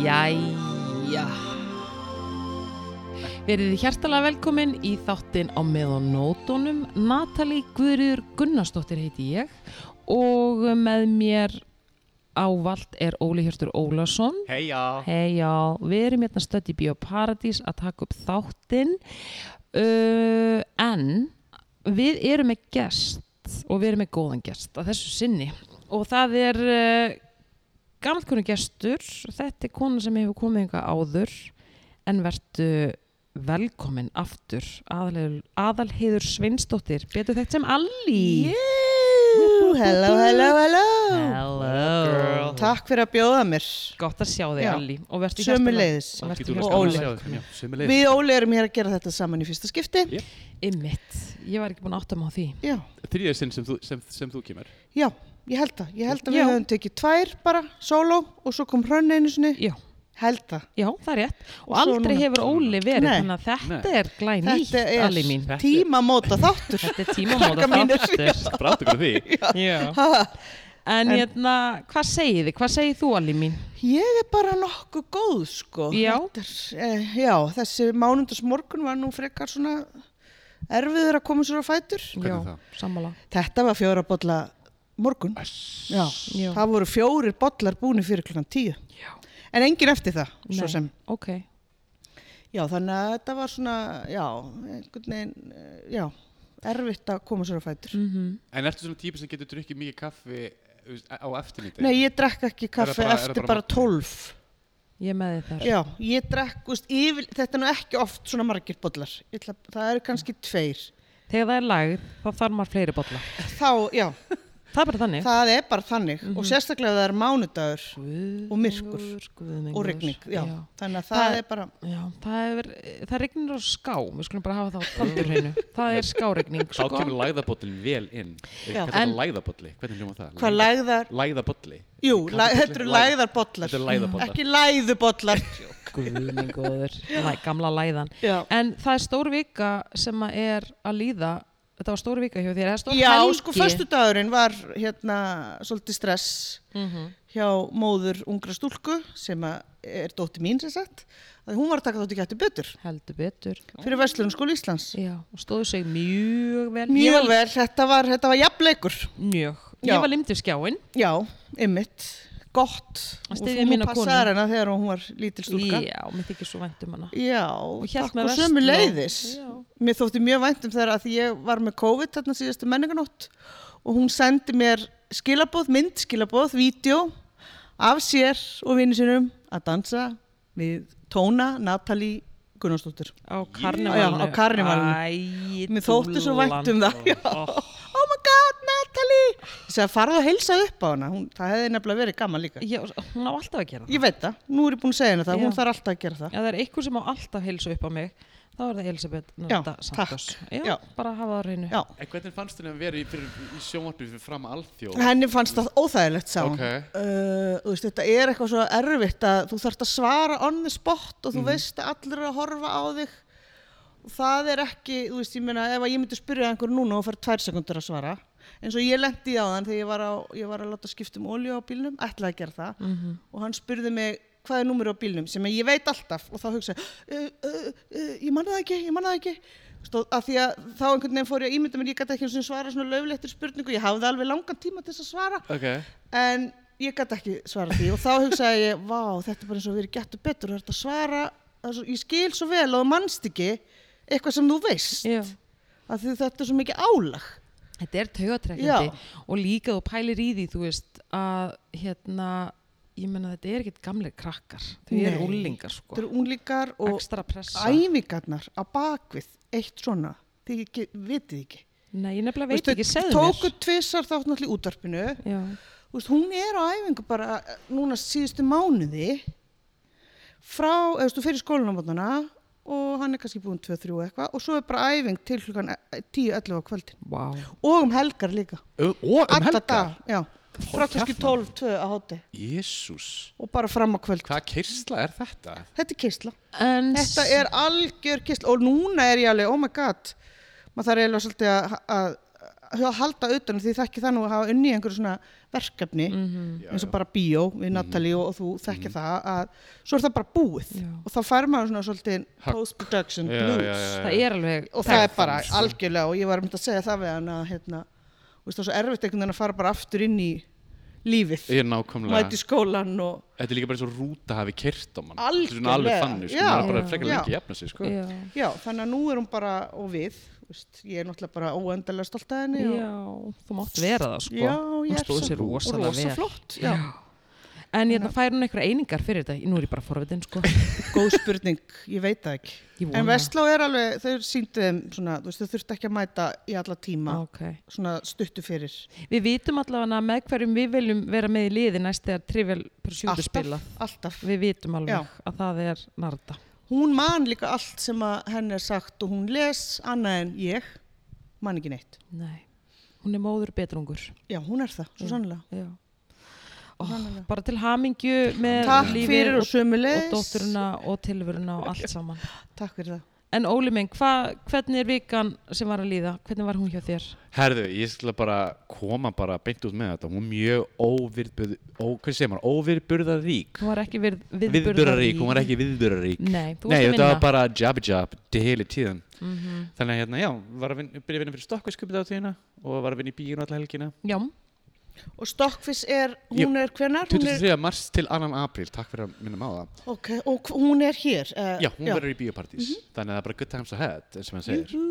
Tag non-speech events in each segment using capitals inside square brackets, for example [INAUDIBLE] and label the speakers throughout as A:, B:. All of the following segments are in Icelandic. A: Jæja Verið þið hjertalega velkomin í þáttinn á meðan nótunum Natalie Guðriður Gunnarsdóttir heiti ég og með mér ávalt er Óli Hjörtur Ólason
B: Heja
A: Hei já, við erum hérna stödd í Bíóparadís að taka upp þáttinn uh, en við erum með gest og við erum með góðan gest að þessu sinni og það er uh, gamalt konu gestur þetta er kona sem hefur komið yngar áður en vertu velkomin aftur aðalheiður, aðalheiður Sveinsdóttir betur þekkt sem Allí
C: Jú, Hello, hello, hello
A: Hello
C: Takk fyrir að bjóða mér
A: Gott að sjá þig
C: Já.
A: Allí og vertu
C: Sömuleiðis
A: og
C: Og Óli.
B: Sömulegð
C: Við Óli erum hér að gera þetta saman í fyrsta skipti
B: Yep.
A: Ymmit, ég var ekki búin að átta mig á því
C: Já,
B: Þriðja sinn sem þú, sem, sem þú kemur
C: já, ég held það Ég held að
A: Já.
C: við höfum tekið tvær bara, sóló og svo kom hrönn einu sinni
A: Já,
C: Held það
A: já, það er rétt Og,
C: Og svo
A: aldrei
C: núna-
A: hefur Óli verið
C: Nei.
A: Þannig að þetta
B: Nei.
A: er glæn nýtt,
C: Þetta
A: Alli mín
C: er tímamóta þáttur
A: Þetta er tímamóta
C: Krakkar mínir.
A: þáttur
B: Brátt ykkur á því
A: Já. En hérna, hvað segið þið? Hvað segið þú Alli mín?
C: Ég er bara nokkuð góð sko
A: Já.
C: Þetta er, eh, já þessi mánundas morgun var nú frekar svona erfiður að koma sér á fætur
B: Hvernig
A: já,
B: það?
A: sammála
C: Þetta var fjóra bolla morgun Já,
A: Já.
C: það voru fjórir bollar búni fyrir klukkan tíu.
A: Já.
C: En engin eftir það, svo
A: Nei,
C: sem.
A: Ok,
C: Já, þannig að þetta var svona, já, einhvern veginn, eh, já, erfitt að koma sér á fætur.
A: Mhm.
B: En ertu svona típi sem getur drukkið mikið kaffi þú veist, á eftirlíti?
C: Nei, ég drekk ekki kaffi
B: bara- er það
C: eftir
B: bara
C: bara tólf.
A: ég er með þið þar
C: Já, ég drekk, þú veist, yfir, þetta er nú ekki oft svona margir bollar. Ég ætla, það eru kannski tveir.
A: Þegar það er lagð, þá þarf maður fleiri bolla
C: Þá, já,
A: Það er bara þannig
C: það er bara þannig. Og sérstaklega ef það er mánudagur
A: Guð,
C: og myrkur
A: guð,
C: og regning. Já,
A: já.
C: þannig að það,
A: Það-
C: er bara,
A: Já, það, er, það regnir á ská, við skulum bara hafa það á tandur hreinu. það er skáregning
B: Þá
A: sko.
B: kemur læðabollin vel inn
C: Já.
B: Hvað
A: En-
B: er læðabolli? Hvernig hljóma það?
C: hvað lægðar,
B: Læðabolli
C: jú, læ, þetta eru lægðar bollar.
B: Þetta eru læðabollar
C: Ekki læðubollar.
A: Guðminn góður, Læ, gamla læðan
C: Já.
A: En það er stór vika sem að er að líða Þetta var stór vika hjá þér, það er stór
C: Já,
A: helgi
C: sko, föstudagurinn var hérna svolítið stress
A: Mhm.
C: hjá móður ungra stúlku sem að er dótti mín sem sagt að hún var að taka þátt í gættu betur
A: Heldur betur
C: fyrir Vestlunum skóla Íslands.
A: Já, og stóðu sig mjög vel Ég
C: Mjög
A: var-
C: vel, þetta var, þetta var jafnleikur.
A: Mjög,
C: Já.
A: ég var limtið skjáin
C: Já, ymmit, gott.
A: Að
C: Og
A: styðja
C: þú nú
A: mína
C: passaðir hana þegar hún var lítil stúlka.
A: Já, mér þykir svo vænt um hana
C: Já,
A: hélt
C: takk
A: með
C: og
A: Vestló.
C: sömu leiðis.
A: Já.
C: Mér þótti mjög vænt um þegar að því ég var með COVID þarna síðastu menninganótt og hún sendi mér skilabóð, mynd skilabóð, vídeo af sér og vinnu sinum að dansa við Tóna Natalie Gunnarsdóttir.
A: Á karnivalinu
C: Já, á karnevalinu.
A: Æ,
C: Mér þótti svo
A: dúllan.
C: vænt um það. Já. Oh my god, Natalie! Ég sagði, farðu að heilsa upp á hana. Hún, það hefði nefnilega verið gaman líka.
A: Já, hún á alltaf að gera það
C: Ég veit það, nú er ég búin að segja henni það,
A: Já.
C: hún þarf alltaf að gera það.
A: Já, það er eitthvað sem á alltaf heilsu upp á mig þá er það Elisabeth Nanda
C: takk.
A: Santos Já,
C: Já.
A: bara hafa það á hreinu
C: Já.
B: En hvernig fannst þér að vera í, fyrir, í sjónvarpi fyrir fram alþjóð?
C: Henni fannst það óþægilegt, sá hún.
B: Ok.
C: Uh, þú veist, þetta er eitthvað svo erfitt að þú þarft að svara on the spot og þú veist að allir eru að horfa á þig. Og Það er ekki, þú veist, ég meina, ef að ég myndi spyrja einhver núna og fær tvær sekundur að svara, eins og ég lendi á þann þegar ég var, á, ég var að láta skipta um olju á bílnum, ætlaði að gera það, og hann spurði mig hvað er númur á bílnum, sem ég veit alltaf, og þá hugsaði, uh, uh, uh, ég manna það ekki, ég manna það ekki, Stóð, að því að þá einhvern veginn fór ég að ímynda mér, ég gæti ekki einu sinni svarað svona löflettur spurningu, ég hafði alveg langan tíma til þess að svara,
B: Ok
C: en ég gæti ekki svara því og þá hugsaði ég, vá, þetta er bara eins og við erum gættu betur, þú ert að svara altså, ég skil svo vel og þú manst ekki eitthvað sem þú veist
A: Já.
C: af því þetta er svo mikið álag
A: Þetta er taugatrekkjandi
C: Já.
A: og líka þú pælir í því, þú veist að hérna, ég menna þetta er ekkit gamlega krakkar, þau eru
C: Nei.
A: úlingar sko,
C: þetta eru unglingar og
A: ekstra pressa
C: æfingarnar á bakvið eitt svona, þið ekki, vitið ekki
A: Nei, ég nefnilega veit
C: Veistu,
A: ekki, segðu
C: tóku
A: mér
C: tvisar þátt náttúrulega í útvarpinu
A: Já,
C: Þú veist, hún er á æfingu bara eh, núna síðustu mánuði frá, eða þú veist, þú fyrir skólan á mótana og hann er kannski búin 2-3 eitthvað og svo er bara æfing til klukkan eh, 10-11 á kvöldin
A: vá
C: og um helgar líka
B: Og um
C: alla
B: helga
C: dag, já frá kannski 12, 2 á háti
B: Jésús,
C: og bara fram á kvöld
B: hvað kyrsla er þetta?
C: þetta er keisla,
A: En
C: þetta er algjör keisla og núna er ég alveg, oh my god maður þarf eiginlega svolítið að, að, að, að halda auðvitað því þekki það nú að hafa unni einhverju svona verkefni
A: Mhm.
C: eins og bara bíó
B: Mhm.
C: við Natalie og, og þú þekkir það að svo er það bara búið
A: Já.
C: og þá fær maður svona svolítið
B: Högg.
C: post-production
B: Já,
C: blues
B: já, já, já.
A: það er alveg
C: og það er bara algjörlega og ég var myndið að segja það við hann að hérna, þú veist það er svo erfitt einhvern veginn að fara bara aftur inn í lífið,
B: Ég er nákvæmlega
C: mæti í skólan og
B: Þetta er líka bara eins og rúta hafi kyrt á mann
C: Algjörlega.
B: Þetta er svona alveg þannig, sko,
C: Já.
B: maður er bara frekar
C: Já.
B: lengi að jafna sig, sko
A: Já,
C: já, þannig að nú er hún bara og við, þú veist, ég er náttúrulega bara óendalega stolt að henni og,
A: já, þú mátt vera það sko
C: já, ég
A: Hún
C: er
A: stóð sér
C: og
A: rosalega
C: rosa
A: vel.
C: flott já.
A: En ég fær hún einhverja einingar fyrir þetta Nú er ég bara forvitin [LAUGHS] sko
C: góð spurning, ég veit það ekki
A: Ég
C: en
A: vona.
C: Vestlá er alveg, þau sýndu þeim svona, þú veist, þau þurftu ekki að mæta í alla
B: Hérna.
C: tíma
A: okay.
C: svona stuttu fyrir
A: Við vitum allavega með hverjum við viljum vera með í liði næst þegar Trivial Pursuit er spila
C: alltaf, alltaf
A: Við vitum alveg
C: Já.
A: að það er Narda
C: hún man líka allt sem að henni er sagt og hún les annað en ég man ekki neitt
A: Nei, hún er móður betrungur
C: já, hún er það, svo sannlega
A: Já Ó, bara til hamingju með
C: takk
A: lífið
C: fyrir og
A: og, og
C: sömulegis
A: dótturina og tilvöruna og allt saman
C: takk fyrir það
A: En Óli minn, hva, hvernig er vikan sem var að líða? Hvernig var hún hjá þér?
B: Herðu, ég skal bara koma bara beint út með þetta Hún er mjög óvirburð, ó, hvað segir maður, óvirburðarík
A: Hún var ekki við,
B: Viðburðarík, hún var ekki viðburðarík
A: Nei, þú varst
B: Nei,
A: að
B: þetta
A: vinna
B: var bara jab jab heilu tíðan Þannig að hérna, já, var að vinna, byrja að vinna fyrir stokkvæskupið á tíðina og var að vinna í bíun alla helgina
A: Já,
C: og Stockfish er, hún er hvenar? Hún er,
B: 23. mars til 2. apríl, takk fyrir að minna á það
C: ok, og hv- hún er hér uh,
B: Já, hún verður í bíópartís Þannig að það er bara good times ahead, eins og hann segir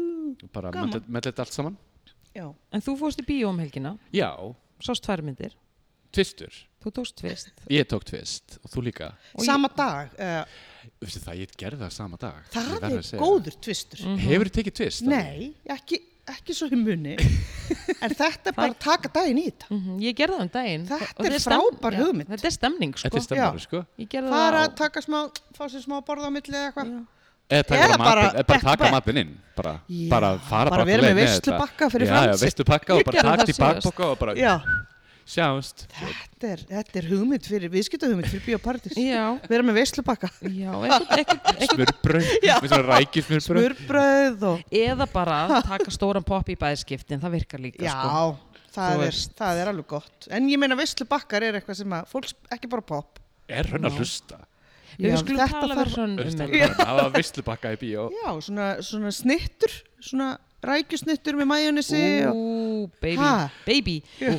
B: Og Bara
C: Gaman.
B: með með þetta allt saman
C: já.
A: en þú fórst í bíó um helgina
B: Já,
A: Sást tværmyndir,
B: tvistur
A: þú tókst tvist
B: Ég tók tvist og þú líka
A: Og ég-
C: sama dag, uh,
B: Veistu það, ég gerði það sama dag Ég
C: það
B: verð
C: er
B: að segja
C: góður tvistur
A: Mm.
B: það. Hefurðu tekið tvist?
C: nei, ekki, ekki svo í munni
A: [LAUGHS]
C: en þetta er bara að taka daginn í þetta
A: mm Ég gerði það um daginn
C: Þetta
A: og- og
C: er
A: stem-
C: frábær
A: Já,
C: hugmynd.
A: Þetta er stemning sko
B: Þetta er stemmari, sko
A: Ég gerði það
C: fara
A: á,
C: að taka smá, fá sér smá borða á milli eða eitthvað
B: Eða taka
C: Eða
B: bara
C: bara
B: matinn- eða bara
C: back to
B: taka
C: back.
B: matinn inn Bara,
C: Já,
B: bara fara
C: bara
B: alla
C: vera
B: leið
C: með
B: þetta.
C: veislupakka fyrir
B: Já, já,
C: framan sig.
B: veistlupakka og
A: Ég
B: bara
A: gerði það
B: taka í
A: síðast.
B: bakpokka og bara
C: já,
B: sjáumst
C: þetta er, þetta er hugmynd fyrir, viðskipta hugmynd fyrir bíópartís
A: Já,
C: vera með veislubakka
A: já, eitthvað, eitthvað, eitthvað
B: Smurbröð, með svona rækju smurbröð
C: smurbröð og
A: Eða
C: [LAUGHS]
A: bara taka stóran popp í bæðskiptin Það virkar líka
C: já,
A: sko
C: það,
A: Þú
C: er,
A: veist.
C: það er alveg gott en ég meina veislubakkar er eitthvað sem að fólk, sp- ekki bara pop
B: Er hann að hlusta?
A: Við
C: Já,
A: skulum
C: þetta
A: tala
C: þarf-
A: við hrönn um þetta
B: Það var visslupakka í bíó
C: já, svona, svona snittur svona rækjusnittur með majónisi og...
A: Ú, baby,
C: Ha?
A: baby. Við,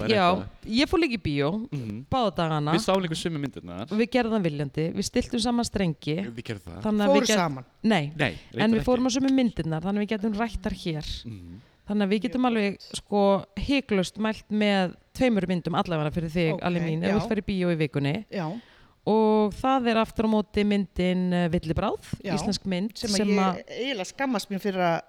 B: var
A: já,
B: eitthvað.
A: ég fór líka í bíó
C: Mm-hmm.
A: Báða dagana
B: Við sáum líka sömu myndirna
A: Við gerðum það viljandi, við stiltum saman strengi
C: Mm.
B: Við gerðum það
A: Þannig að
C: fóru
A: við gerðum
C: saman
A: Nei,
B: Nei,
A: en
B: reyndar
A: við fórum á
B: ekki. Mhm.
A: sömu myndirnar þannig að við getum rættar hér þannig að við getum alveg sko heiklaust mælt með tveimur myndum allavega fyrir þig,
C: Ókei,
A: okay, alveg mín ef
C: já.
A: við fyrir bíó í vikunni
C: já,
A: og það er aftur á móti myndin uh, Villibráð,
C: Já,
A: íslensk mynd
C: sem að ég eiginlega skammast mér fyrir að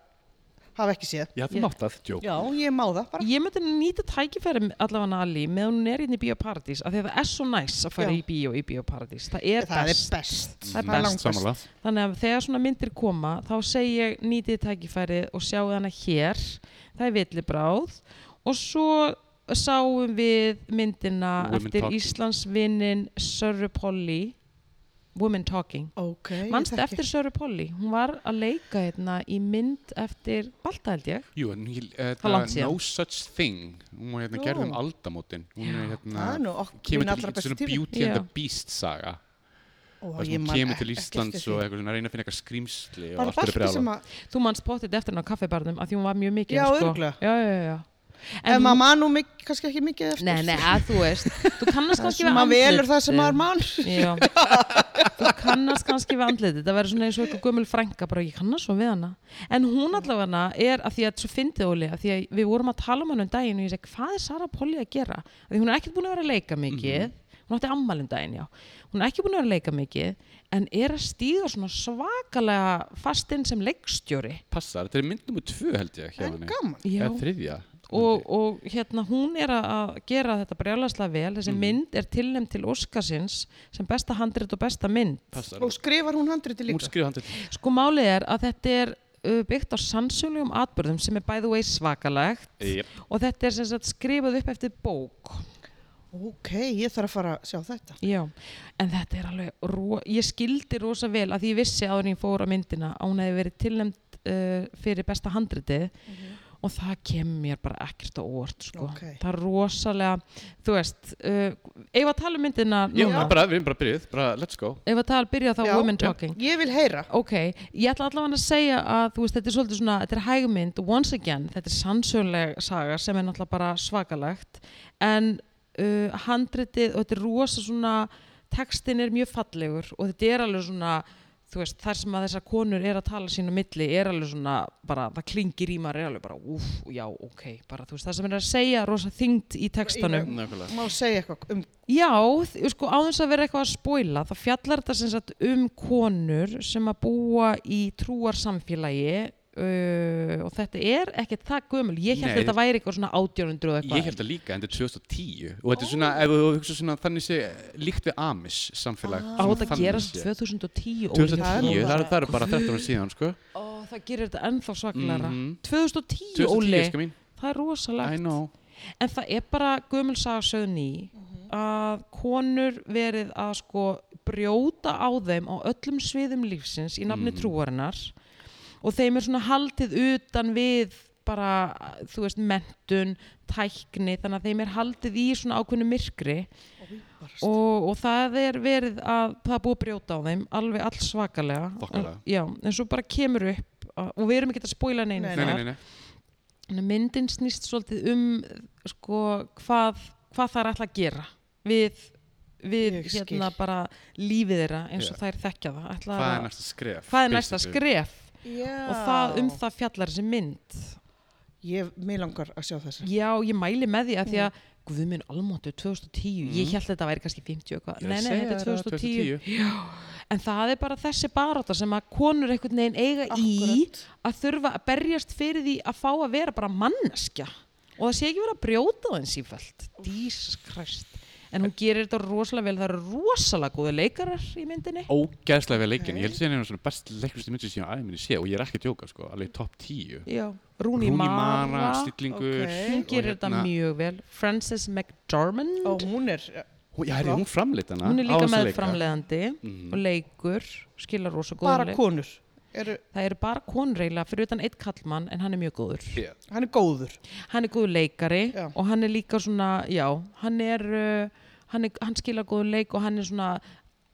C: hafa ekki séð
B: Já, þú mátt að djók
C: já, ég má það bara
A: ég myndi nýta tækifæri allavega Ali meðan hún er hérna í bíóparadís af því að það er svo næs að fara
C: Já.
A: í bíó í bíóparadís, það er
C: það
A: best
C: er best
A: Það er
C: er langbest.
B: sammála
A: Þannig að þegar svona myndir koma þá segi ég nýtið tækifærið og sjáu hana hér, það er villibráð og svo sáum við myndina
B: Women
A: eftir
B: Talking.
A: Íslandsvinnin Sörru Polly Women Talking
C: ok, ég
A: Manst
C: þekki.
A: eftir Sörru Polly, hún var að leika hérna í mynd eftir Balta held ég
B: Jú, en ég-
A: Það er langt
B: hérna,
A: síðan.
B: No Such Thing Hún var hérna
C: Nú.
B: gerð um aldamótin Hún er hérna
C: Það er nú ok-
B: Kemur
C: mín
B: til
C: allra
B: eitthvað
C: besta
B: svona
C: tími.
B: Beauty and the
A: Já.
B: Beast saga
C: Ó,
B: Það
C: ég
B: sem hún
C: man
B: kemur til
C: ekki eftir
B: Íslands
C: því.
B: og eitthvað svona reyna að finna eitthvað skrýmsli og
C: bara
B: allt er að
C: balti
B: brjála.
C: sem að
A: Þú manst pottit eftir henni á kaffibarnum að því hún var mjög mikið
C: Já,
A: sko.
C: örugglega.
A: Já, já, já, já.
C: en, maður man nú mik- kannski ekki mikið eftir
A: Nei, nei, að þú veist Þú kannast kannski eh, við
C: maður velur það
A: andlitin.
C: sem maður man
A: [LAUGHS] Já, þú kannast kannski við andlitið, þetta verður svona eins og eitthvað gömul frænka, bara ég kannast svo við hana. En hún allavega er, að því að svo fyndið Óli, að því að við vorum að tala um hann um daginn og ég segi, hvað er Sara Polly að gera? Að því hún er ekkert búin að vera að leika mikið, hún átti ammál um daginn, já. Hún er ekki búin að vera að leika mikið, en er að stíga svona svakalega fastinn sem leikstjóri.
B: Passar, þetta er mynd nummið tvö held ég hjá
C: en
B: henni
C: gaman
A: Já.
B: Eða þriðja
A: og, og hérna hún er að- að gera þetta brjálæslega vel, þessi mynd er tilnæmt til Óskarsins sem besta handrit og besta mynd.
B: Passar,
C: og skrifar hún handriti
B: hún
C: líka
B: skrifa hann til
A: Sko málið er að þetta er uh, byggt á sannsögulegum atbyrðum sem er by the way svakalegt
B: Jep.
A: og þetta er sem sagt skrifað upp eftir bók
C: ok, ég þarf að fara að sjá þetta
A: Já, en þetta er alveg ro ég skildi rosa vel að því ég vissi áður en ég fór á myndina að hún hefði verið tilnæmt uh, fyrir besta handritið og það kemur mér bara ekkert á óvart sko.
C: Ókei.
A: það er rosalega þú veist, uh, ef að tala um myndina
B: Já,
A: núna,
B: bara, við erum bara byrjuð, bara let's go
A: ef að tala byrja þá
C: Já.
A: Women
B: Já.
A: Talking
C: ég vil heyra
A: Ok, ég ætla allavega að segja að þú veist, þetta er svolítið svona, þetta er hægmynd once again, þetta er sannsöguleg saga sem er náttúrulega bara svakalegt en uh, handritið og þetta er rosa svona, textin er mjög fallegur og þetta er alveg svona þú veist, þar sem að þessar konur er að tala sín á milli er alveg svona, bara, það klingir í maður er alveg bara, úf, já, ok bara, þú veist, það sem er að segja er rosa þyngd í textanum
B: Nákvæmlega
C: má segja eitthvað um
A: Já, þ- sko áðins að vera eitthvað að spóila þá fjallar þetta sem sagt um konur sem að búa í trúarsamfélagi uh, og þetta er ekkert það gömul ég held
B: Nei.
A: að þetta væri eitthvað svona átjónundur og
B: Ég
A: eitthvað
B: held það líka, en þetta er 2010 og þetta er svona, ef þú hugsa svona þannig sé líkt við Amish samfélag
A: Ah. á
B: svona
A: þetta
B: þannig
A: gerast
B: séð.
A: 2010 Óli.
B: 2010, það er, það er bara 13 ára síðan, sko
A: Ó, það gerir þetta ennþá svaklara
B: Mhm.
A: 2010,
B: 2010,
A: Óli,
B: sko mín
A: það er rosalegt
B: I know
A: en það er bara gömul sagasöðun í
C: Mhm.
A: að konur verið að sko brjóta á þeim á öllum sviðum lífsins í nafni trúarinnar og þeim er svona haldið utan við bara, þú veist, mentun tækni, þannig að þeim er haldið í svona ákveðnu myrkri og, og það er verið að það er búið að brjóta á þeim alveg alls svakalega
B: Þokkalega.
A: En- já, en svo bara kemur upp að- og við erum ekki að spóila neina
C: Nei,
B: Nei, nei, nei, nei.
A: Þannig að myndin snýst svolítið um sko, hvað, hvað það er alltaf að gera við, við
C: Ég skil.
A: hérna bara lífið þeirra eins og
B: Já.
A: þær þekkja það Ætla
B: Hvað er
A: að-
B: næsta skref?
A: hvað er næsta
B: basically?
A: skref
C: Já.
A: og það, um það fjallar þessi mynd
C: ég, mér langar að sjá þessu
A: já, ég mæli með því að því að
C: Mm.
A: Guð minn almáttu 2010,
B: Mm.
A: ég held þetta væri kannski 50 og eitthvað,
B: Ég
A: nei nei,
B: segi
A: þetta er
B: þér að
A: 2010 en það er bara þessi baráta sem að konur einhvern veginn eiga
C: Akkúrat.
A: í að þurfa að berjast fyrir því að fá að vera bara manneskja og það sé ekki verið að brjóta þeim sífælt Jesus Christ en hún gerir þetta rosalega vel, það eru rosalega góði leikarar í myndinni
B: Ógæðslega við leikin, ég held að það er svona best leikustu myndi sem ég aðeins minni sé og ég er ekki að djóka sko, alveg top 10
A: Já, Rúni Mara
B: stillingur hérna-
C: ok.
A: hún gerir þetta mjög vel Frances McDormand
C: og hún er
B: mjög Já, herri, hún framleitt hana
A: hún er
B: á
A: líka
B: þessa
A: með
B: leika.
A: framlegandi og leikur, skilar rosa
C: bara
A: góðan leik
C: konur er,
A: það eru bara konreila fyrir utan eitt kallmann en hann er mjög góður
B: Já.
C: hann er góður
A: hann er góður leikari
C: Já.
A: og hann er líka svona, já, hann er, uh, hann, er hann skilur góður leik og hann er svona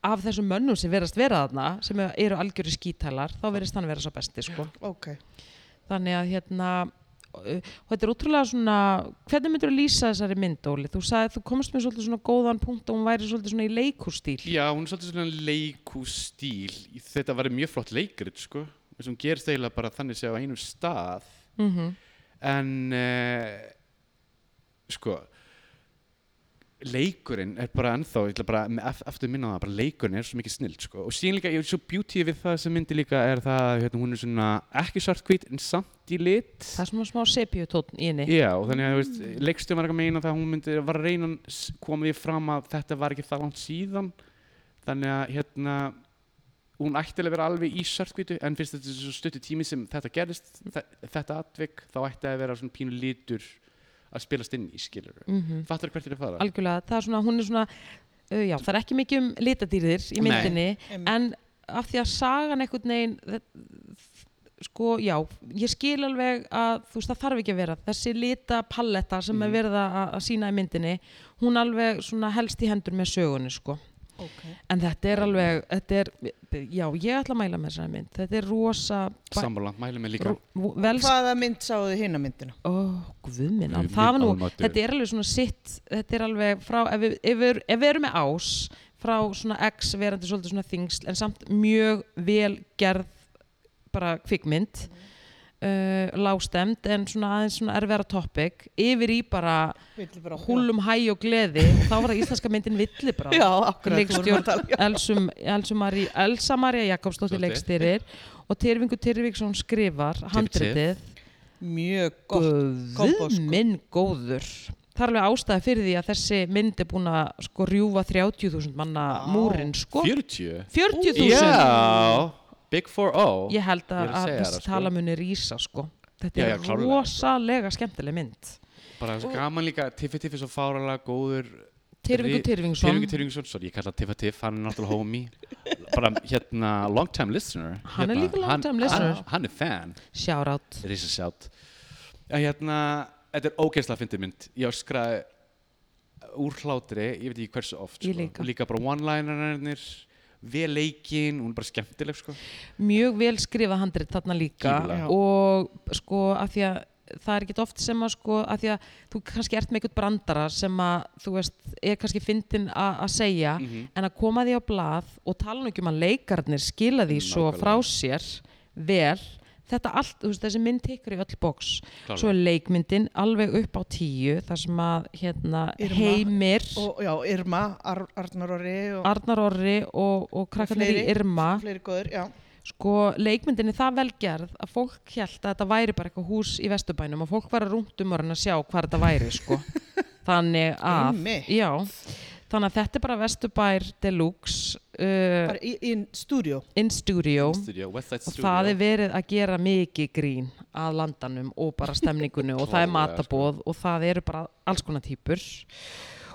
A: af þessum mönnum sem verðast vera þarna, sem eru algjöru skítalar, þá verðist hann vera svo besti, sko.
C: ok
A: Þannig að hérna, uh, og þetta er ótrúlega svona, hvernig myndur þú lýsa þessari mynd, Óli? Þú sagði að þú komst með svolítið svona góðan punkt og hún væri svolítið svona í leikúrstíl.
B: Já, hún er svolítið svona leikústíl Þetta var mjög flott leikrit sko sem gerist eiginlega bara þannig séð á einum stað
A: Mm
B: en uh, sko leikurinn er bara ennþá, ég ætla bara af, aftur að minna á það, bara leikurinn er svo mikið snild sko. og síðan líka, ég er svo beauty við það sem myndi líka er það, að, hérna, hún er svona ekki svartkvít en samt í lit
A: Það er svona smá sepjutótn í henni.
B: Já, og þannig að þú veist, leikstjum var ekki að meina það að hún myndi var að reyna að s- koma því fram að þetta var ekki það langt síðan þannig að hérna hún ætti alveg að vera alveg í svartkvítu en fyrst þetta er svo stuttu tími sem þetta gerist þe- þetta atvik, þá ætti að vera svona pínu lítur að spilast inn í skilur
A: Mm
B: Fattar hvert er að fara?
A: Algjörlega, það er svona, hún er svona, uh, já, það er ekki mikið um litadýrðir í
B: Nei.
A: myndinni,
B: Mm.
C: Einmitt.
A: en af því að sagan einhvern veginn þ- sko, já, ég skil alveg að þú veist, það þarf ekki að vera þessi lita palletta sem
B: Mm.
A: er verið að, að sína í myndinni, hún alveg svona helst í hendur með sögunni, sko
C: ok
A: en þetta er alveg, þetta er já, ég ætla að mæla með þessari mynd þetta er rosa bæ-
B: Sammála, mælum við líka
A: rú- vel
C: hvaða mynd sáðu þið hina myndina
A: Ó, guðminn,
B: Guð minn
A: það var nú,
B: almáttugur.
A: þetta er alveg svona sitt, þetta er alveg frá, ef við, ef við, ef við erum með ás frá svona X verandi svolítið svona þingsl, en samt mjög vel gerð bara kvikmynd, uh, lágstemd, en svona aðeins svona erfæra topic, yfir í bara
C: Villibráð.
A: húlum hæ og gleði, og þá var það íslenska myndin Villibráð
C: [LAUGHS] já, akkurat þú vorum að tala- um,
A: leikstjórn Elsum, Elsum Mari, Elsa Maria Jakobsdóttir
B: Dóttir.
A: leikstýrir og Tyrfingur Tyrfingsson skrifar handritið
C: mjög gott kombo,
A: Guð
C: sko.
A: minn góður Það er alveg ástæða fyrir því að þessi mynd er búin að sko rjúfa 30.000 manna
C: Vá.
A: múrin sko
B: 40?
A: 40.000
B: Já, Big oh. 4-0
A: Ég held
B: Ég er
A: að,
B: að
A: að
B: segja
A: þessi
B: það, sko.
A: tala muni rýsa sko Þetta
B: Já,
A: er
B: já, klárlega, sko.
A: rosalega skemmtileg mynd
B: bara svo gaman líka Tiffi Tiffi svo fáralega góður
A: Tyrfingur Tyrfingsson.
B: Tyrfingur Tyrfingsson, sorry, ég kalla hann Tiffa Tiff, hann er náttúrulega homie bara hérna long time listener
A: Hann er
B: hérna,
A: líka long
B: hann-
A: time listener.
B: hann, hann er fan,
A: Sjárátt.
B: risa sjátt en hérna, þetta er ógeðslega fyndið mynd, ég öskraði úr hlátri, ég veit ekki hversu oft
A: Ég
B: sko.
A: líka.
B: og líka bara one-linerarnir vel leikin, hún er bara skemmtileg sko.
A: Mjög vel skrifað handrit þarna líka
B: Gífurlega.
A: og sko af því að það er ekkert oft sem að sko af því að þú kannski ert með einhvern brandara sem að þú veist er kannski fyndin a- að segja
C: Mhm.
A: en að koma því á blað og tala nú ekki um að leikarnir skila því svo
B: Nákvæmlega.
A: frá sér vel þetta allt, þú veist þessi mynd tekur í öll boks
B: Klárlega.
A: svo er leikmyndin alveg upp á tíu þar sem að hérna
C: Irma
A: heimir
C: og já, Irma, Ar Arnar Orri og
A: Arnar Orri og, og krakkarnir í
C: fleiri.
A: Irma
C: fleiri góður, já
A: sko, leikmyndin er það velgerð að fólk held að þetta væri bara eitthvað hús í Vesturbænum og fólk var að rúmtum orðin að sjá hvað þetta væri
C: [LAUGHS]
A: sko. þannig að
C: Einmitt.
A: já, þannig að þetta er bara Vesturbær Deluxe uh,
C: bara í, í stúdíó
A: in studio
B: studio, West Side
A: og
B: Studio
A: það er verið að gera mikið grín að landanum og bara stemningunni og það er
B: Klárlega, sko.
A: matabóð og það eru bara alls konar týpur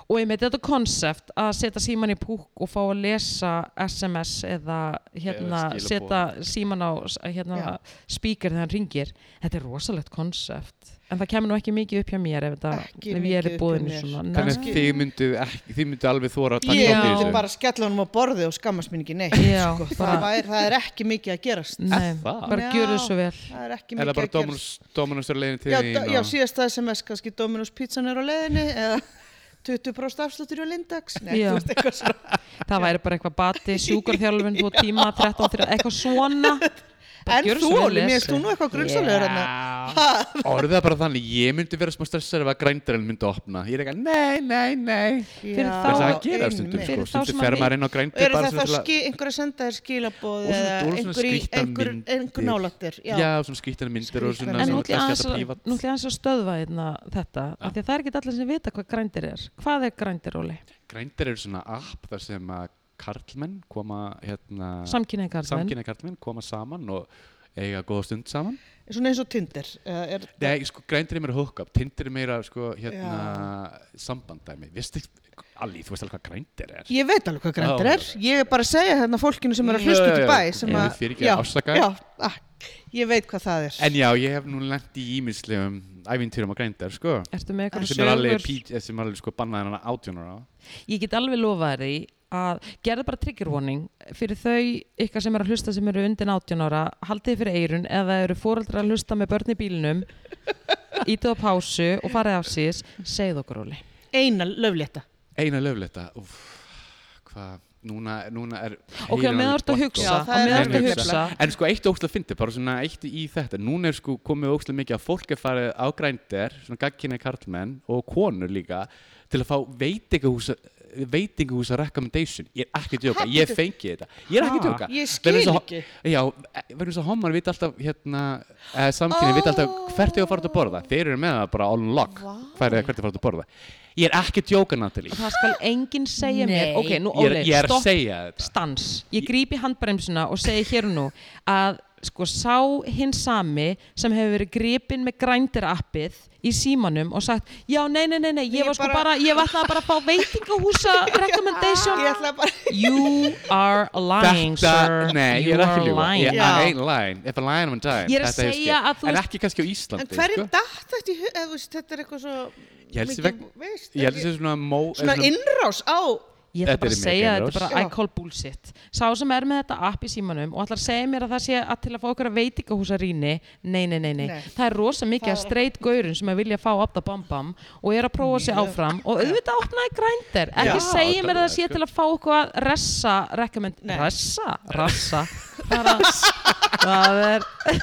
A: og ég með þetta konsept að setja síman í púk og fá að lesa SMS eða hérna
B: Eða skilaboð.
A: setja síman á s- hérna,
C: Já.
A: speaker þegar hann ringir þetta er rosalegt konsept en það kemur nú ekki mikið upp hjá mér ef, þetta,
C: Ekki
A: ef ég
C: mikið
A: er
C: upp hjá
A: búin í
C: mér.
A: svona
B: Þannig
A: Nei.
B: að þið myndu, ekki, þið myndu alveg þóra að taka
C: ég
A: þátt í
C: myndi
A: þessu.
C: bara skella honum á borði og skammast mín ekki neitt
A: Já,
C: sko.
A: bara-
C: það, er, það er ekki mikið að gerast
A: Nei,
B: það?
A: bara
C: Já.
A: gjöru svo vel
C: það er ekki
B: Er það
C: mikið
B: bara
C: að gerast
B: dómunastur leiðin til
C: já,
B: þín
C: da- já,
B: og-
C: síðast það sem er kannski Dominus pizzan er á leiðinni eða [LAUGHS] 20% afsluttur á Lindax Nei,
A: Já.
C: þú veist, eitthvað svona.
A: það væri bara eitthvað
C: [LAUGHS]
A: bati, sjúkarþjálfun tvo tíma, 13, 13, eitthvað svona Bara
C: en
A: gjörðu
C: þú,
A: svo vel
C: Óli, mér
A: lesin.
C: erst þú nú eitthvað hérna. grunnsálegur yeah.
B: [LAUGHS] Orðið er bara þannig, ég myndi vera smá stressar ef að grændarinn myndi að opna. Ég er ekki að, nei, nei, nei.
A: Fyrir þá-
B: Það er það
A: Já,
B: að gera stundum, sko.
A: Fyrir þá sem
B: Stundum
A: að
B: fer
A: vi-
B: maður inn á
C: Og
B: grændir
C: eru
B: bara
C: það
B: sem
C: þá
B: til að...
C: ski, einhver að senda þér skilaboð
B: Og svona-
C: eða
B: og svona
C: einhver, í-
B: skrýtnar
C: einhver,
B: myndir.
C: einhver nálattir já.
B: Já, svona skvítan myndir og svona...
A: En nú
B: svona
A: ætlum ég
B: kannski
A: aðeins
B: þetta
A: að- nú
B: prívat.
A: ætlum ég aðeins að stöðva hérna þetta af því að það er ekki allir sem vita hvað grændir er Hvað er grændir, Óli?
B: Grændir eru svona app þar sem að karlmenn koma, hérna...
A: Samkynneið karlmenn
B: Samkynni karlmenn koma saman og eiga góða stund saman.
C: svona eins og Tinder eða er,
B: Nei, sko, grændir er meira hookup, tindir er meira, sko, hérna, sambandæmi. Vist ekki, Alli, þú veist alveg hvað grændir er?
C: ég veit alveg hvað grændir
B: Já.
C: er ég er bara að segja hérna fólkinu sem er að
B: Já,
C: hlusta
B: já,
C: út í
B: já.
C: bæ sem
B: Ég
C: að,
B: vil fyrirgefa, afsaka.
C: já, ah, ég veit hvað það er
B: En já, ég hef nú lent í ímislegum æfintýrum á grændar, sko.
A: Ertu með
B: Sem er
A: eitthvað
B: alveg,
A: sögur?
B: pít, sem er alveg sko bannaði hann átjónur á.
A: Ég get alveg lofað þér í að gerðu bara trigger warning fyrir þau ykkar sem eru að hlusta sem eru undir 18 ára haldið fyrir eirun eða eru fóreldrar að hlusta með börn í
B: [LAUGHS]
A: bílnum ítið á pásu og farið af síðis segð okkur, Óli
C: eina löflétta
B: Eina löfletta, uff, hvað, núna, núna er...
A: Ok,
B: heyrinn
A: á meðan
B: alveg
A: þú ert að
B: blank
A: hugsa,
C: Já,
A: á
C: það
A: meðan
C: er
A: þú ert að
B: alveg
A: hugsa
B: En sko eitt ókslega fyndi, bara svona eitt í þetta Núna er sko komið ókslega mikið að fólk er farið á grændir Svona gagkinni karlmenn og konur líka Til að fá veitingahúsa veitingahúsa recommendation Ég er ekki að djóka, ég fengi þetta Ég er ekki að
A: Ha?
B: djóka
C: Ég
B: Vegna þess að
C: skil
B: ho-
C: ekki.
B: Já, verður þess að homar vita alltaf hérna eh, Samkynni vita alltaf hvert þau að fara út að borða Þeir eru með það bara on lock Hvert þau að fara út að borða Ég er ekki að djóka, Natalie
A: það skal enginn segja mér ok, nú
B: Ég er,
A: Óli,
B: ég er að
A: stopp,
B: segja þetta
A: stans ég gríp í handbremsuna og segi hér og nú að sko sá hinn sami sem hefur verið gripinn með grændir appið í símanum og sagt já, nei, nei, nei, nei ég
C: Ég
A: var sko bara,
C: bara-
A: ég vatnaði bara að fá veitingahúsa recommendation
C: ég ætla bara
A: you are lying, sir
B: nei,
A: you
B: ég er ekki
A: are
B: ljúga
A: lying
B: Ég
C: Já.
B: I ain't lying, if I lying I'm dying
A: Ég er að
B: Þetta hefur
A: segja
B: skemmt.
A: að þú
B: En
A: veist-
B: ekki kannski á Íslandi
C: en hverjum
B: sko?
C: datt þetta í hug- eða þú veist, þetta er eitthvað svo
B: Ég held sér
C: mikið-
B: vegna-
C: veist,
B: Ég held
C: ekki-
B: þessi svona mó
C: svona innrás á
A: Ég ætla bara
B: Þetta
A: að
B: er mikið
A: segja að
B: innrás.
A: þetta er bara I
C: Já.
A: call bullshit. Sá sem er með þetta app í símanum og ætlar að segja mér að það sé að til að fá okkur að veitingahúsa rýni, nei, nei, nei, nei.
C: Nei.
A: Það er rosa mikið að streit gaurun sem að vilja fá opta bambam og er að prófa sig áfram og auðvitað opnaði grændir. Ekki
B: Já, sko.
A: segja mér að það
B: þetta
A: sé
B: er
A: til að fá okkur að ressa, recommend,
C: Nei.
A: ressa, rassa. Það er að- það er,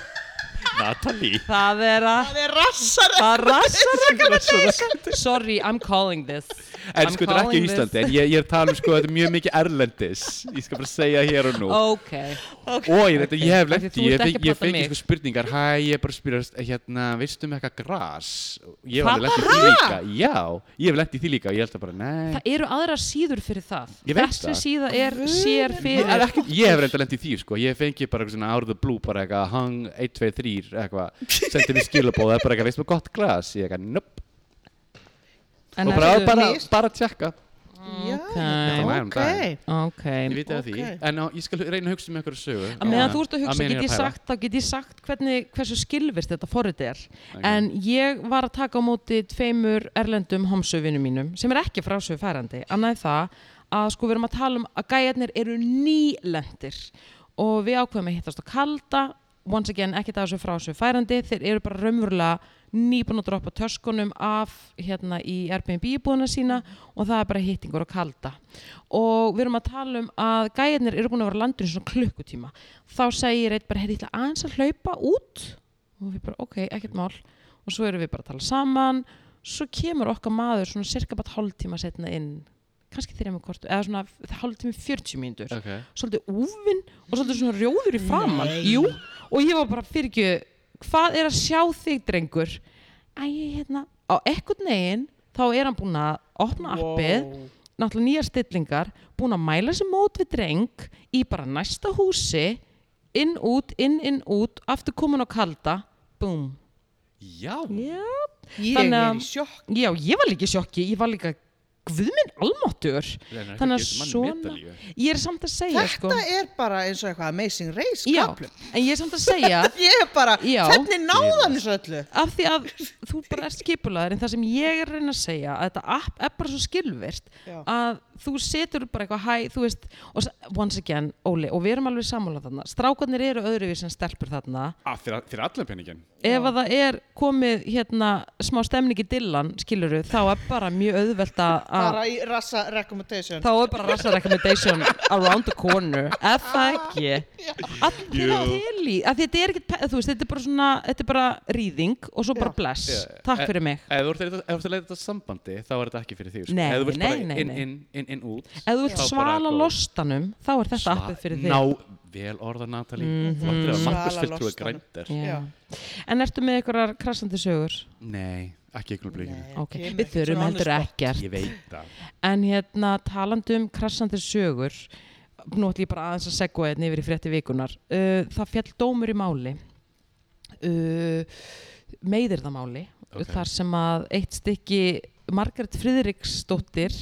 B: Natalie
A: það er að,
C: það er rassar [LAUGHS]
A: að rassa recommendation. Sorry, I'm calling this.
B: En
A: I'm
B: sko þetta er ekki á
A: calling this.
B: Íslandi En ég, ég er að tala um sko þetta er mjög mikið erlendis Ég skal bara segja hér og nú
A: Okay.
B: Og ég, þetta, ég hef
A: Af því
B: lent
A: þú
B: í Ég
A: ert ekki
B: fengi,
A: að
B: ég
A: plata
B: fengi
A: mig.
B: sko spurningar Hæ, ég er bara að spyrja hérna, Veistu um eitthvað gras? Ég hef
A: Hvað
B: alveg lent í því líka Já, ég hef lent í því líka og Ég held að bara, nei
A: Það eru aðrar síður fyrir það.
B: Ég veit
A: Þessi
B: það.
A: síða er sér
B: Ég,
A: fyrir.
B: er ekki, ég hef reynda lent í því sko, ég fengi bara eitthvað svona out of the blue, bara eitthvað hang 1, 2, 3 eitthvað, sendi mér skilabóð eða bara eitthvað, veist maður gott glas, ég eitthvað nöpp
A: En
B: og bara,
A: ertu-
B: bara,
C: Mist.
B: bara tjekka
C: Já,
A: ok.
B: Nei,
C: ok.
B: nei,
A: Ok.
B: Ég veit að því,
C: Ok.
B: en á, ég skal reyna að hugsa með ykkur sögu
A: Að meðan
B: Já.
A: þú ert að
B: Á
A: hugsa,
B: meðan
A: get
B: er
A: ég
B: pæla.
A: sagt, þá get ég sagt hvernig, hversu skilvirst þetta forrið er.
B: Ok.
A: En ég var að taka á móti tveimur erlendum homsöfinu mínum sem er ekki frásöfærandi, annað en það að sko við erum að tala um að gæjarnir eru nýlendir og við ákveðum að hittast á kalda once again, ekki það þessu frásöfærandi þeir eru bara raunverulega nýbúin að droppa töskunum af hérna í Airbnb búðuna sína og það er bara hittingur á kalda og við erum að tala um að gæjarnir eru búin að vera á landinu í svona klukkutíma þá segir eitt bara, heyrðu, ég ætla aðeins að hlaupa út og við bara, ok, ekkert mál og svo erum við bara að tala saman svo kemur okkar maður svona cirka bara hálftíma setna inn kannski þeirra með kortu, eða svona hálftími 40 mínútur,
B: Ok,
A: svolítið úfinn og svolítið svona rjóður í framann
C: Nei.
A: Jú, og ég var bara fyrir ekki hvað er að sjá þig drengur æ, hérna, á ekkert negin þá er hann búinn að opna appið náttúrulega nýjar stillingar búin að mæla sér mót við dreng í bara næsta húsi inn, út, inn, inn, út aftur komin á kalda, búm
B: já,
A: Já,
C: Ég
A: Þannig að-
C: er í sjokk.
A: já ég var líka í sjokki, ég var líka guðminn almáttur Þannig að
B: Reynar, ekki getur manni
A: svona-
B: medalíu.
A: ég er samt að segja
C: Þetta
A: sko.
C: er bara eins og eitthvað Amazing Race
A: já,
C: kaplum.
A: en ég er samt að segja
C: [LAUGHS] Ég er bara,
A: Já.
C: hvernig náðan þessu öllu?
A: af því að þú bara ert skipulaður en það sem ég er að reyna að segja að þetta app er bara svo skilvirt
C: Já.
A: að þú setur bara eitthvað hæ þú veist, og s- once again, Óli og við erum alveg sammála þarna, strákarnir eru öðruvís en stelpur þarna,
B: Ah, Fyrir fyrir allan penningin
A: ef að það er komið hérna smá stemning í dillan skiluru, þá er bara mjög auðvelt að að-
C: [LAUGHS] Bara í rassa recommendation.
A: þá er bara rasa recommendation around the corner ef
C: [LAUGHS]
A: það ekki allir
B: Jú.
A: til í, að þetta er ekki þú veist, þetta er bara svona, þetta er bara rýðing og svo bara
C: Já.
A: bless,
B: Já.
A: takk
B: Eh,
A: fyrir mig
B: Ef þú ert að leita- ef þú ert að leita þetta sambandi þá er þetta ekki fyrir því sko.
A: Nei,
B: Ef þú vilt bara
A: nei, nei,
B: inn,
A: nei.
B: inn, inn, inn, út
A: Ef þú vilt
B: þá bara
A: svala
B: go.
A: lostanum, þá er þetta
B: Sva-
A: appið fyrir þig. Mhm.
B: Ná, vel orða Natalie mm -hmm. Flottir að
C: Svala
B: Markus fylgtrúi
C: lostanum.
B: grændir
A: Já.
C: Já.
A: En ertu með einhverjar krassandi sögur?
B: Nei, ekki ykkur blíkinu
C: Nei,
A: Ok,
C: kemur
A: við
C: ekkert
A: þurfum
C: svona
A: heldur
C: annars
A: ekkert.
B: Ég veit það
A: En hérna, talandi um krassandi sögur, nú ætlum ég bara aðeins að segja þetta yfir í frétti vikunar. Uh, það fjall dómur í máli, uh, meiðir það máli,
B: Ok.
A: þar sem að eitt stykki Margaret Friðriksdóttir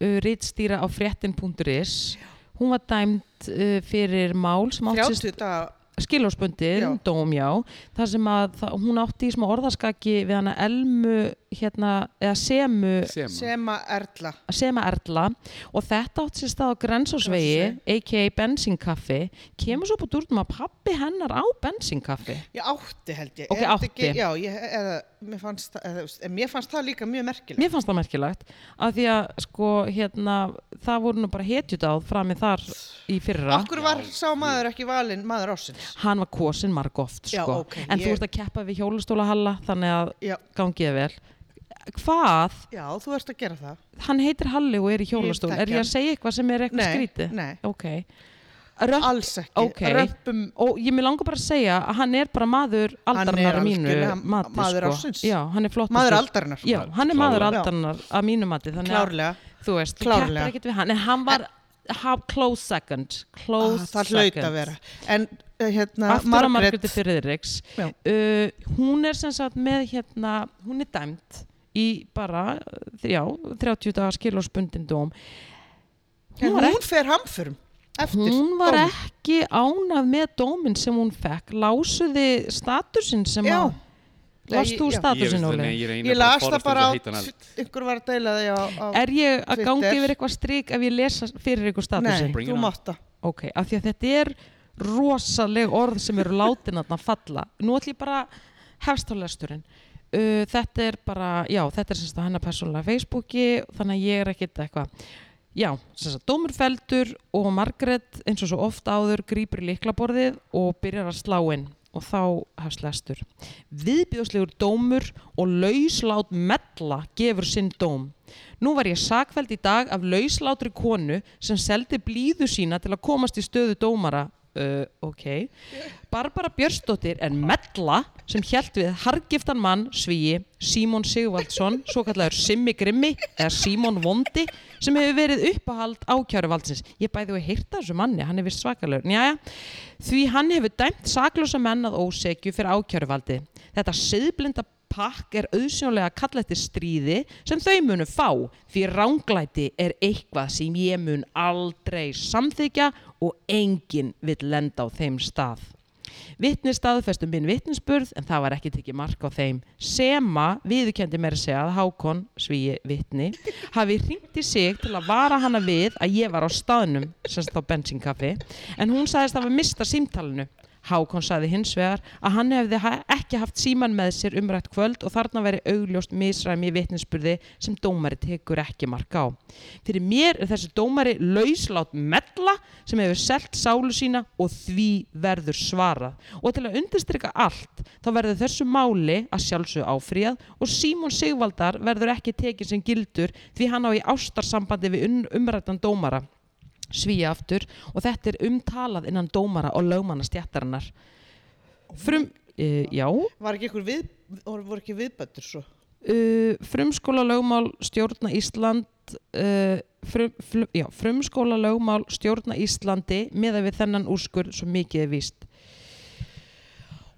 A: uh, rítstýra á fréttin.is, hún var dæmt uh, fyrir mál sem átt sér
C: 30 daga
A: skilósbundin,
C: Já.
A: dóm já þar sem að það, hún átti í smá orðaskaki við hana Elmu hérna, eða Semu,
B: Sem
C: sem að erla.
A: Sema Erla og þetta átti sér stað á Grensásvegi a.k.a. bensinkaffi kemur svo búið úr um að pappi hennar á bensinkaffi
C: Ég átti held ég.
A: Ok,
C: Er þetta
A: átti.
C: já, ég, eða, mér fannst, það- eða, þú veist, en mér fannst það líka mjög merkilegt.
A: Mér fannst það merkilegt að því að sko hérna það voru nú bara hetjudáð framið þar í fyrra
C: Okkur var sá maður ekki valinn maður ásins.
A: hann var kosin marg oft sko.
C: Já, ok,
A: en þú
C: ég-
A: ert að keppa við hjólastólahalla þannig að
C: Já,
A: gangiði vel hvað
C: já, þú ert að gera það.
A: hann heitir Halli og er í hjólastól
C: Ég þekki
A: er ég að
C: hann.
A: segja eitthvað sem er eitthvað
C: Nei,
A: skrítið?
C: nei.
A: ok Röpp,
C: Alls ekki.
A: Ok.
C: Römpum
A: og ég mér langar bara að segja að hann er bara maður
C: er
A: aldarinnar að mínu
C: algjörlega
A: mati
C: maður
A: sko.
C: ársins.
A: já, hann er flott
C: maður aldarinnar.
A: já, hann er maður
B: Klárlega.
A: aldarinnar að mínu mati þannig að
C: Klárlega.
A: þú veist, þú
C: Klárlega.
A: keppar ekkert við hann en hann var ha, close second close
C: Ah, það
A: second
C: hlaut að vera. En eh, hérna,
A: aftur að
C: Margrét,
A: Margréti Friðriks
C: Já.
A: uh, hún er sem sagt með hérna, hún er dæmt í bara, uh, já, 30 dagar skilórsbundin dóm
C: en
A: hún var
C: hún fer hamförum eftir.
A: hún var
C: dóminn.
A: ekki ánað með dóminn sem hún fekk lásuði statusinn sem
C: Já.
A: að Last
C: Nei,
A: þú
C: já.
B: Ég veist
A: statusinn,
B: það,
A: Óli?
B: nei, ég reyna
C: Ég las það bara á,
B: að heita hann allt.
C: einhver var að deila því á, á
A: Er ég að
C: Twitter.
A: gangi yfir eitthvað strik ef ég lesa fyrir eitthvað statusinn?
B: Bring
C: Nei,
B: it
C: þú
B: on.
C: mátt það.
A: Ok, af því að þetta er rosaleg orð sem eru látin að falla. Nú ætlum ég bara hefst á lesturinn. Uh, þetta er bara, já, þetta er semst á hennar persónulega Facebooki, þannig að ég er ekkit eitthvað. Já, semst að dómur feldur og Margrét eins og svo oft áður grýpur í liklaborðið og byrjar að slá inn og þá hefst lestur. Viðbjóðslegur dómur og lauslát mella gefur sinn dóm. Nú var ég sakfæld í dag af lauslátri konu sem seldi blíðu sína til að komast í stöðu dómara. Uh, ok. Barbara Björnsdóttir er mella sem hjælt við hargiftan mann svíi Símon Sigvaldsson, svo kallar Simmi Grimmi eða Símon Vondi sem hefur verið uppahald ákjæru valdsins. Ég bæði og heyrta þessu manni, hann er vist svakalur. Njæja, því hann hefur dæmt saklosa menn að ósekju fyrir ákjæru valdi. Þetta siðblinda pakk er auðsjónlega kalla eftir stríði sem þau munu fá því ránglæti er eitthvað sem ég mun aldrei samþykja og enginn vill lenda á þeim stað. Vittni staðfestu minn vittnisspurð en það var ekki tekið mark á þeim sema viðurkendi mér að segja að Hákon svíi vittni hafi hringt í sig til að vara hana við að ég var á staðnum sem þá bensinkaffi en hún sagðist að hafa mista símtalinu Hákon sagði hins vegar að hann hefði ha- ekki haft síman með sér umrætt kvöld og þarna veri augljóst misræmi í vitninsburði sem dómari tekur ekki marka á. Fyrir mér er þessi dómari lauslátt mella sem hefur selt sálu sína og því verður svarað. Og til að undirstrika allt þá verður þessu máli að sjálfsög áfríðað og Símon Sigvaldar verður ekki tekið sem gildur því hann á í ástarsambandi við un- umrættan dómara svíja aftur og þetta er umtalað innan dómara og lögmanna stjættarinnar frum, uh, já
C: Var ekki ykkur við, voru voru ekki viðbættur svo?
A: uh, frumskóla lögmál stjórna Ísland uh, frum, fl, já, frumskóla lögmál stjórna Íslandi meða við þennan úrskur svo mikið er víst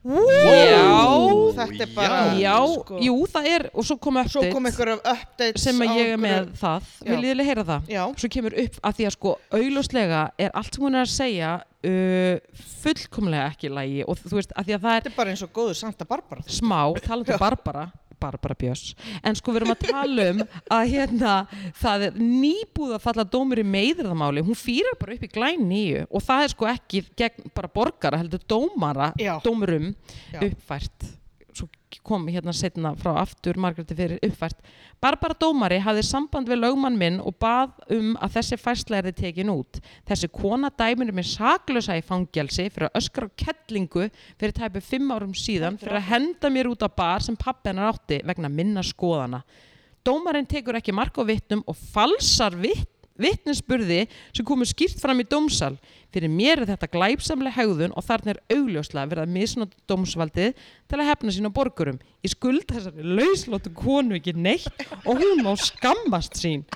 A: Já.
C: Þetta er bara,
A: já,
C: sko.
A: jú það er og svo kom
C: Svo
A: update
C: kom ykkur af updates
A: sem
C: á
A: að ég er
C: einhverju-
A: með það,
C: Já.
A: viljið þið heyra það
C: Já,
A: svo kemur upp að því að sko augljóslega er allt sem hún er að segja uh, fullkomlega ekki í lagi og þú veist að því að það er
C: þetta er bara eins og góður Santa Barbara.
A: smá, talandi um Barbara Barbara Björs, en sko við erum að tala um að hérna, það er nýbúð að falla dómur í meðræðamáli hún fýrar bara upp í glæn nýju og það er sko ekki gegn bara borgara heldur dómara,
C: Já.
A: dómurum
C: Já.
A: uppfært svo kom hérna setna frá aftur Margréti fyrir uppfært Barbara Dómari hafði samband við lögmann minn og bað um að þessi færsla er þið tekin út þessi kona dæminu minn saklösa í fangelsi fyrir að öskra á kettlingu fyrir tæpu fimm árum síðan fyrir að henda mér út á bar sem pappi hennar átti vegna minna skoðana Dómarinn tekur ekki mark á vittnum og falsar vitt vittnisspurði sem komu skýrt fram í dómsal. Fyrir mér er þetta glæpsamlega hegðun og þarna er augljóslega verið að misnota dómsvaldið til að hefna sín á borgurum. Ég skuld þessari lauslóttu konu ekki neitt og hún má skammast sín.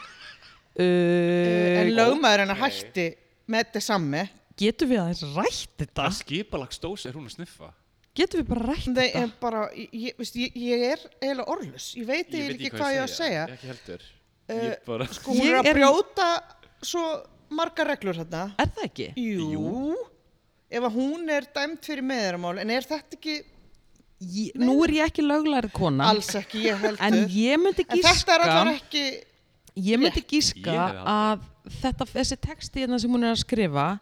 A: Uh,
C: Eh, En lögmaður hennar hætti með þetta samme.
A: getum við aðeins rætt þetta?
B: Það skipalagsdós er hún að sniffa
A: Getum við bara rætt
C: Það
A: þetta?
C: er bara, ég, ég, veist, ég, ég er eiginlega orðlus. Ég veit eiginlega ekki hvað ég á að segja.
B: Ekki heldur Ég bara
C: Sko, hún
A: Ég
C: er að
A: er-
C: brjóta svo margar reglur hérna.
A: Er það ekki?
C: Jú. Ef að hún er dæmt fyrir meðuramál, en er þetta ekki
A: Ég, nú er ég ekki löglærið kona.
C: alls ekki,
A: [LAUGHS]
C: ég heldur.
A: En ég myndi
C: En
A: gíska...
C: þetta er allar ekki,
A: Ég myndi
B: Ég
A: gíska
B: hefði
A: að þetta, þessi texti hérna sem hún er að skrifa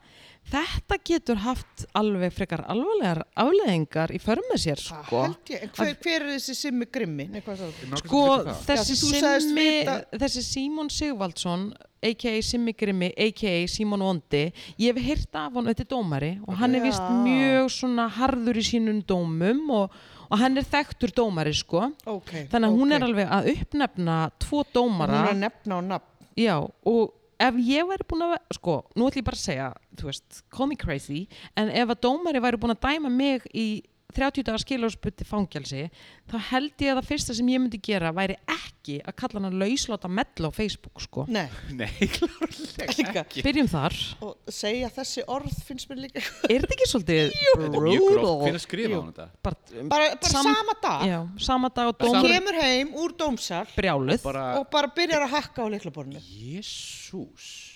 A: þetta getur haft alveg frekar alvarlegar afleðingar í förmið sér
C: það
A: sko.
C: held ég. En hver, hver er þessi simmi grimmi? Nei, hvað sagði þú?
A: Sko, þessi,
C: Já, þú sagðist
A: Simmi,
C: vita-
A: þessi Símon Sigvaldsson a.k.a. Simmi Grimmi, a.k.a. Símon Vondi ég hef heyrt af hann, þetta er dómari og hann er vist
C: Já.
A: mjög svona harður í sínum dómum og, og hann er þekktur dómari sko
C: Ok.
A: þannig að hún
C: ok.
A: er alveg að uppnefna tvo dómara
C: Hún er að nefna á nafn.
A: Já, og ef ég væri búin að, sko, nú ætlum ég bara að segja, þú veist, call me crazy, en ef að dómari væri búin að dæma mig í 30 dagar skiljóðsbutti fangelsi, þá held ég að það fyrsta sem ég myndi gera væri ekki að kalla hann lausláta mell á Facebook, sko. [LAUGHS]
C: Nei.
B: [LAUGHS] Nei, klárlega ekki
A: Byrjum þar.
C: Og segja þessi orð finnst mér líka.
A: Er þetta ekki
B: [LAUGHS]
A: svolítið
B: Þetta er mjög gróft
A: brutal?
B: Hvernig skrifa hún þetta?
A: Bara,
C: Bara, bara
A: Um, Sam-
C: sama dag.
A: já, sama dag og
C: Hún
A: dómar
C: kemur heim úr dómsal
A: brjáluð,
B: Bara
C: og bara byrjar að hakka á leiklaborinu.
B: Jésús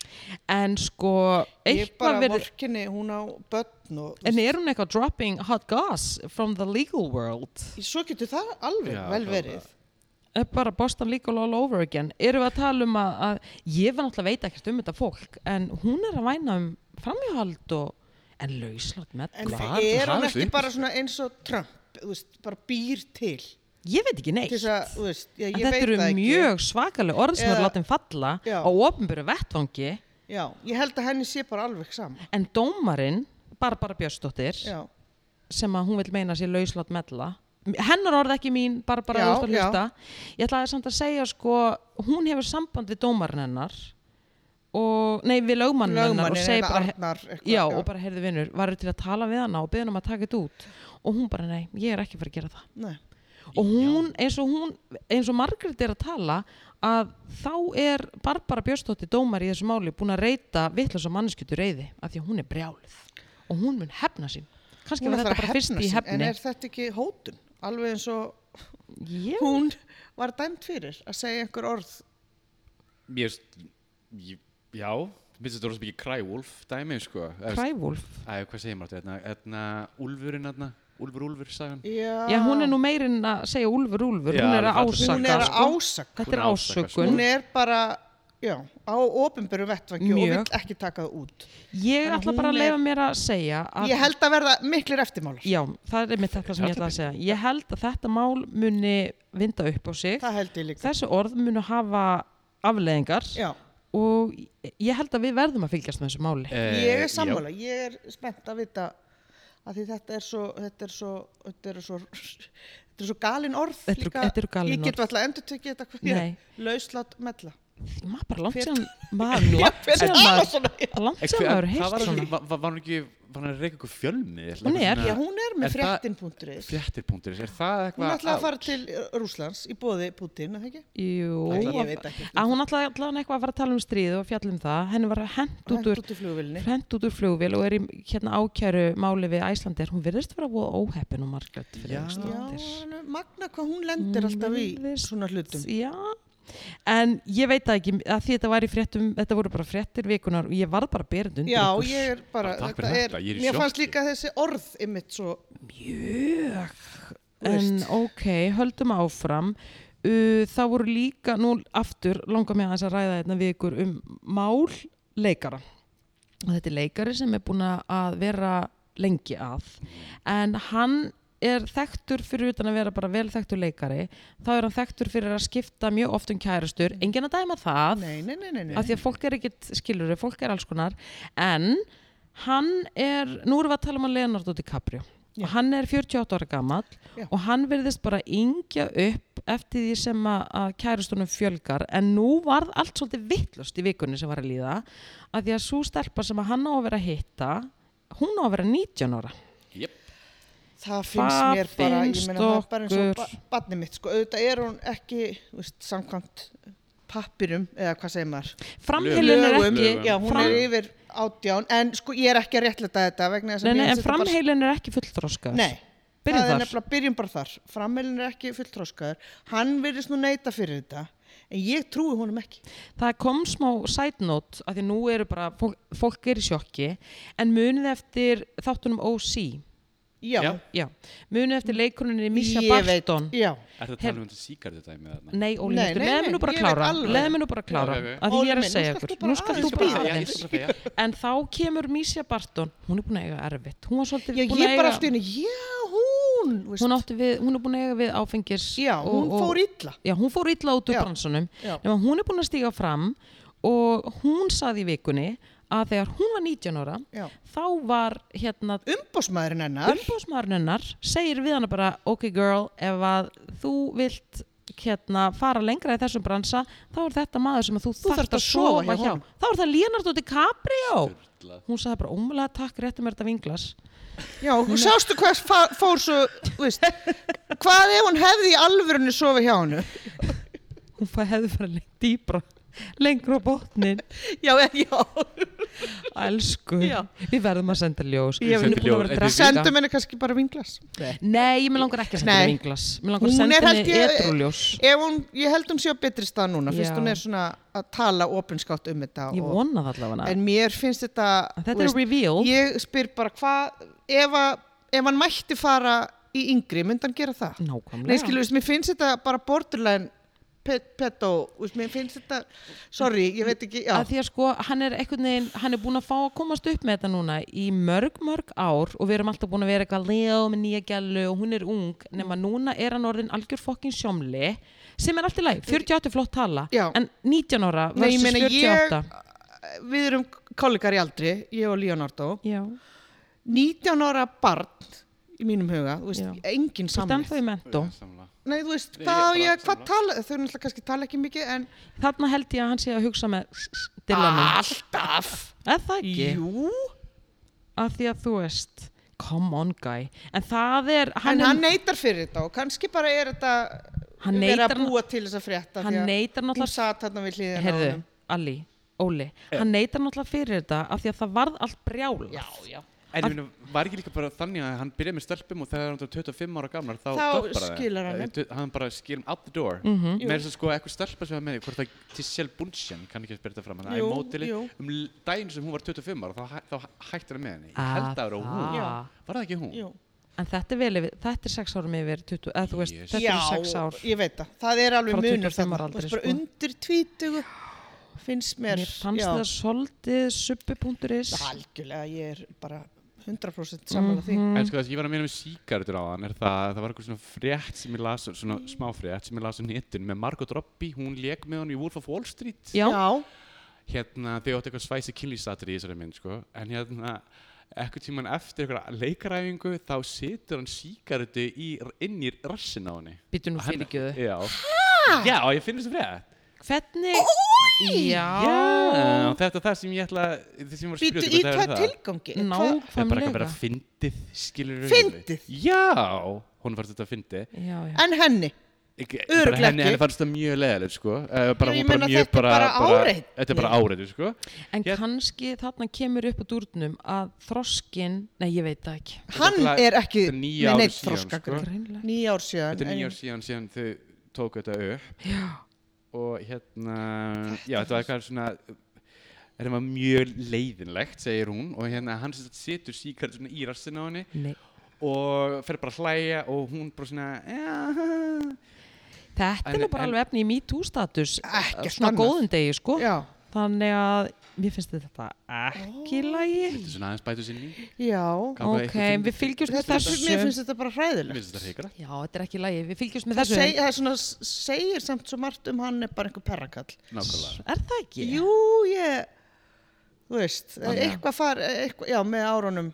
A: en sko,
C: Ég bara
A: eitthvað verið...
C: vorkinni, hún á börn og...
A: En er hún eitthvað dropping hot goss from the legal world?
C: Svo getur það alveg
B: Já,
C: vel
B: það-
C: verið.
A: er bara Boston legal all over again erum við að tala um að, að ég var náttúrulega veit ekkert um þetta fólk en hún er að væna um framhjáhald og en lauslott með
C: En
A: hvað?
B: ætli
C: er
B: það
C: hún
B: sé
C: ekki
B: upp?
C: bara svona eins og Trump, þú veist, bara býr til
A: ég veit ekki neitt
C: til þess að, þú veist, já,
A: En
C: ég
A: þetta
C: veit
A: eru
C: það ekki.
A: mjög svakaleg orð sem eru
C: Eða-
A: látin falla
C: Já.
A: á ofnbyrju vettvangi
C: Já, ég held að henni sé bara alveg saman.
A: en dómarinn Barbara Björnsdóttir
C: Já,
A: sem að hún vil meina sér lauslátt mella hennar orð ekki mín, bara bara
C: Já,
A: þú ert að
C: já.
A: hlusta ég ætlaði samt að segja sko hún hefur samband við dómarinn hennar og, nei við lögmann hennar og
C: lögmannin
A: segir
C: eða
A: bara
C: Arnar eitthvað.
A: já, og bara heyrðu vinnur, varu til að tala við hana og beðin um að taka þetta út og hún bara nei, ég er ekki fyrir að gera það
C: Nei.
A: og hún, eins og hún, eins og Margrét er að tala að þá er Barbara Björstóttir dómar í þessu máli búin að reyta vittlösa mannskjötu reyði af því að hún er brjálið og hún mun hefna sín kannski
C: Hún
A: var
C: ætlar
A: þetta
C: að
A: bara fyrst
C: hefna
A: í
C: sín, en
A: hefni
C: er þetta ekki hótun? Alveg eins og
A: Ég,
C: hún var dæmt fyrir að segja einhver orð
B: Mér, finnst- ég, já, mér finnst þetta rosa mikið Crywolf dæmi, sko. Eða,
A: Krævúlf.
B: Æ, hvað segir maður þetta? Þetta, Úlfurinn, þarna, Úlfur, Úlfur, sagan.
C: já,
A: Já, hún er nú meirinn að segja úlfur, úlfur.
B: Já,
A: hún er
B: alveg
A: að ásaka.
C: hún
B: fallegt.
C: Ah. er
A: sko.
C: ásak
A: Þetta er
B: Hún er að ásaka, sko.
A: ásökun.
C: hún er bara já, á opinberu vettvangi og
A: Mjög.
C: vill ekki taka það út
A: Ég
C: Þannig að
A: ætla bara
C: hún
A: að
C: er-
A: leifa mér að segja að
C: ég held að verða miklir eftirmálar
A: Já, það er mitt þetta sem ég ætla að segja. Ég held að þetta mál muni vinda upp á sig.
C: það held ég líka
A: Þessi orð munu hafa afleðingar
C: já,
A: og ég held að við verðum að fylgjast með þessu
B: Eh.
A: máli.
C: ég er sammála, ég er spennt að vita að því þetta er svo þetta er svo þetta er svo, þetta er svo galin orð
A: Þetta eru-
C: líka.
A: þetta eru galin
C: ég
A: orð.
C: get alltaf að endur tekið þetta
A: Nei.
C: hverja lauslátt
A: [LAUGHS]
C: mella
A: Maður bara langt
C: Hver- [LAUGHS]
A: síðan maður, langt
C: hver
A: síðan
C: talar
A: maður,
C: svona?
A: langt
B: Ekki,
A: síðan maður
B: það var,
A: heilt
B: ekki,
A: svona.
B: var, var hún ekki, var hann að reyka ykkur fjölmi?
A: Hún er,
C: já, hún er með
B: Er það-
C: fréttin.is
B: Fréttir.is, er
C: hún
B: það eitthvað?
C: ætlaði að fara til Rúslands í bóði Putin, eða ekki?
A: Jú,
C: Ætli, ég
A: að-
C: veit ekki.
A: að hún alltaf allan eitthvað að fara að tala um stríð og fjalla um það. Henni var hent út úr,
C: Hent út í flugvilni
A: hent út úr flugvél og er í hérna ákjæru máli við Æslandir. Hún virðist vera voða óheppin og margjöld fyrir
C: Já,
B: Já.
A: Íslandir.
C: hann er magna hvað hún lendir alltaf í
A: Virðist-
C: svona hlutum
A: Já, en ég veit það ekki að því þetta var í fréttum, þetta voru bara fréttir vikunar og ég varð bara berend undir
C: Já,
A: ykkur.
C: ég er bara,
B: Bara takk fyrir þetta, ég er í
C: Mér fannst
B: sjokki.
C: líka þessi orð ymmit svo
A: Mjög.
C: Þú
A: En
C: veist.
A: ok, höldum áfram. Uh, það voru líka, nú aftur langar mig aðeins að ræða hérna við ykkur um mál leikara. Og þetta er leikari sem er búin að vera lengi að. En hann er þekktur fyrir utan að vera bara vel þekktur leikari. Þá er hann þekktur fyrir að skipta mjög oft um kærastur. Engin að dæma það.
C: Nei, nei, nei, nei, nei.
A: af því að fólk er ekkit skilur fólk er alls konar en hann er, nú erum við að tala um að Leonardo DiCaprio
C: Já.
A: og hann er 48 ára gamall
C: Já.
A: og hann virðist bara yngja upp eftir því sem að, að kærustunum fjölgar en nú varð allt svolítið vittlust í vikunni sem var að líða af því að svo stelpa sem að hann á að vera að hitta hún á að vera 19 ára
B: Jep,
C: Það finnst
A: Hvað
C: mér bara, ég
A: finnst
C: meina það er bara eins og
A: okkur?
C: ba badni mitt, sko, auðvitað er hún ekki, þú veist, samkvæmt pappirum, eða hvað segir maður?
A: framheilin er
C: Lögum,
A: ekki
B: Lögum.
C: Já, hún
A: fram-
C: er yfir átján, en sko, ég er ekki að réttlæta þetta vegna þess
A: Nei,
C: að
A: nei, en
C: mér finnst þetta bara-
A: framheilin er ekki fullþroskaður
C: Nei,
A: Byrjum
C: það
A: þar.
C: er nefnilega byrjum bara þar. Frammeilin er ekki fulltróskaður. Hann virðist nú neyta fyrir þetta, en ég trúi honum ekki.
A: Það kom smá side note að því nú eru bara, fólk, fólk er í sjokki en munið eftir þáttunum OC
C: Já,
B: Já,
A: já, munið eftir leikuninni Misha
C: ég veit.
A: Barton
C: Já,
B: er þetta
A: Hef-
B: talað um þetta síkartu dæmi? þarna?
A: Nei, Óli,
C: Nei, nei,
A: leðið mér nú
C: nei,
A: bara
C: ég
A: að
C: veit
A: klára
C: alveg.
A: leðið mér nú bara að klára,
B: Já, ok, ok.
A: að því ég er
C: Óli
A: að
C: minn,
A: segja
C: nú skalt
A: ykkur
C: þú bara
A: nú skal þú
C: aðeins
B: Ég skal bara-
A: býða
B: já, ég
A: aðeins
B: skal bara segja.
A: en þá kemur Misha Barton hún er búin að eiga erfitt hún var svolítið
C: já ég
A: búin að
C: bara allt í
A: eiga
C: henni, já, hún, veist,
A: hún, átti við, hún er búin að eiga við áfengis
C: já, hún fór illa.
A: Já, hún fór illa út úr
C: Já.
A: bransunum
C: Já.
A: nema hún er búin að stíga fram og hún saði í vikunni að þegar hún var 19 ára
C: Já.
A: þá var hérna
C: Umbósmaðurinn hennar,
A: umbóðsmaðurinn hennar segir við hana bara ok girl, ef að þú vilt hérna fara lengra í þessum bransa þá er þetta maður sem að þú,
C: Þú þarft að sofa hjá honum.
A: þá er það Leonardo DiCaprio
B: Sturla.
A: hún sagði bara ómulega takk réttum er þetta vinglas
C: já, og sástu hvað fa- fór svo,
A: [LAUGHS]
C: þú veist, hvað ef hún hefði í alvörunni sofið hjá hennu?
A: hún fæ- hefði bara lengt dýbra lengra á botnin
C: Já, já,
A: elsku,
C: Já.
A: við verðum að senda ljós
C: Ég
A: Við erum
B: sendi
A: búin að vera
B: ljós.
A: að
B: Þetta
A: drekka-
B: er
C: sendum henni kannski bara vinglas.
A: Nei, ég með langar ekki að senda
C: Nei.
A: henni vinglas Mér langar að
C: Hún
A: senda
C: er held
A: henni
C: ég-
A: edrúljós
C: Ef hún, ég held hún sé á betri stað núna, fyrst
A: Já.
C: hún er svona að tala opinskátt um þetta.
A: Ég
C: og-
A: vona það allavega hana
C: En mér finnst þetta
A: Þetta
C: þú
A: er reveal.
C: Ég spyr bara hvað ef, að- ef hann mætti fara í yngri myndi hann gera það Nei,
A: Nákvæmlega
C: skilu, veist, mér finnst þetta bara borderline pet, petó, veist, mér finnst þetta sorry, ég veit ekki, já
A: að því að sko, hann er einhvern veginn, hann er búin að fá að komast upp með þetta núna í mörg, mörg ár og við erum alltaf búin að vera eitthvað Leo með nýja gælu og hún er ung nema
C: Mm.
A: núna er hann orðin algjör fokkin sjómli sem er allt í lagi, 48 er flott tala
C: Mm. Já.
A: en 19 ára
C: Nei,
A: versus
C: ég meina, ég-
A: 48
C: Við erum kollegar í aldri, ég og Leonardo
A: Já,
C: 19 ára barn í mínum huga, þú veist,
A: Já.
C: engin
A: þú
C: samlið
A: stendðu í mentó
B: Samla.
C: Nei, þú veist,
B: Nei,
C: hvað á
B: ég er bara
C: ég, hvað
B: sammála.
C: tala þau náttúrulega kannski tala ekki mikið en
A: Þarna held ég að hann sé að hugsa með Dylanum,
C: alltaf
A: er það ekki?
C: Jú,
A: að því að þú veist come on guy en það er,
C: hann,
A: hann,
C: en hann
A: hann,
C: neitar fyrir þetta og kannski bara er þetta
A: Hann
C: verið að
A: neitar-
C: búa til þess að frétta
A: hann neitar
C: hún
A: náttúrulega
C: satt hérna við hliðina á
A: herðu,
C: honum.
B: Eh.
A: Ali, Óli hann neitar náttúrulega fyrir þetta af því að það varð allt brjálað
C: já, já
B: En ég meina, var ekki líka bara þannig að hann byrjaði með stelpum og þegar hann var 25 ára gamlar þá,
C: Þá
B: doppar það.
C: skilar hann
B: Eh,
C: þeim.
B: du- Hann bara skilur um out the door.
A: mm -hmm.
C: Jú.
B: Með þess að sko eitthvað stelpa sem var með því, hvort það Tissel Bunchen, kann ekki að spyrja þetta fram, hann er mótili
C: jú.
B: um l- daginn sem hún var 25 ára, þá, hæ- þá hættir hann með henni.
A: Ah,
B: Ég held að það vera hún.
C: Já.
B: Var það ekki hún?
C: Jú.
A: En þetta er vel yfir, þetta er sex árum yfir 20, eða þú veist,
B: Jesus.
A: þetta er sex ár
C: ég veit það, það er alveg
A: Frá
C: munur
A: 25
C: þarna.
A: ára
C: Þú veist,
A: aldri,
C: bara
A: sko.
C: undir tvítugu finnst mér
A: Mér fannst
C: já.
A: það svolítið subbi.is
C: algjörlega, ég er bara
A: Mhm,
C: 100% samanlega því
B: En sko þess að ég var að meina með síkaretur á hann er það að það var eitthvað svona frétt sem ég las svona smá frétt sem ég las á netun með Margot Robbie, hún lék með hann í Wolf of Wall Street
A: Já,
B: hérna þau áttu eitthvað svæsi kynlýsatri í þessari mynd sko en hérna eitthvað tíman eftir eitthvað leikaræfingu þá situr hann síkaretu í, inn í rassin á henni
A: býtu nú
B: Hann-
A: fyrirgjöðu
B: Já, já ég finnst það frétt
A: Hvernig,
B: Já,
A: já,
B: þetta er það sem ég ætla það sem ég var
C: býtu
B: að spyrja út
C: í
B: í, hvað það
C: hvað
B: er það?
C: tilgangi Hva-
B: Það er bara eitthvað
A: nákvæmlega
B: bara fyndið, skilur
C: Fyndið?
B: Já, hún fannst þetta fyndið
A: Já, já
C: en henni
B: Ekki-
C: Örugglega
B: bara henni,
C: ekki.
B: henni fannst það mjög leðilegt sko. uh,
C: Já,
B: bara,
C: ég
B: hún bara
C: meina,
B: mjög
C: þetta er bara áreitni.
B: þetta er bara áreitni sko.
A: En
B: Hér-
A: kannski þarna kemur upp á dúrnum að þroskin, nei ég veit það ekki
C: hann
B: Þetta
C: er ekki
B: þetta er níu
C: með
B: ár
C: neitt
B: síðan,
C: þroska
B: sko.
A: Greinlega
C: nýja ár síðan
B: þetta er
C: en-
B: nýjár síðan síðan þau tóku þetta upp
A: Já,
B: og hérna já, þetta var eitthvað svona þetta var mjög leiðinlegt segir hún og hérna hann sem sagt situr síkart svona í rassin á henni
A: nei
B: og fer bara að hlæja og hún bara svona "Ja."
A: Þetta
B: En-
A: er nú bara
B: en-
A: alveg efni í MeToo status
C: Ekkert
A: Svona
C: annað.
A: góðum degi, sko
C: já,
A: Þannig að mér finnst þetta ekki lægi
B: þetta er svona aðeins bætu sinni
C: já
B: Ganga
A: Ok,
B: eitthvað fyndið.
A: við fylgjumst með
C: þetta, mér
A: þessu
C: finnst þetta bara
B: mér
C: hræðilegt
B: finnst þetta hreikra
A: Já, þetta er ekki lægi, við fylgjumst með
C: það
A: þessu
C: seg, það er svona, segir samt svo margt um hann er bara einhver perrakall
B: nákvæmlega
A: Er það ekki?
C: jú, ég þú veist, eitthvað far eitthvað, já, með árunum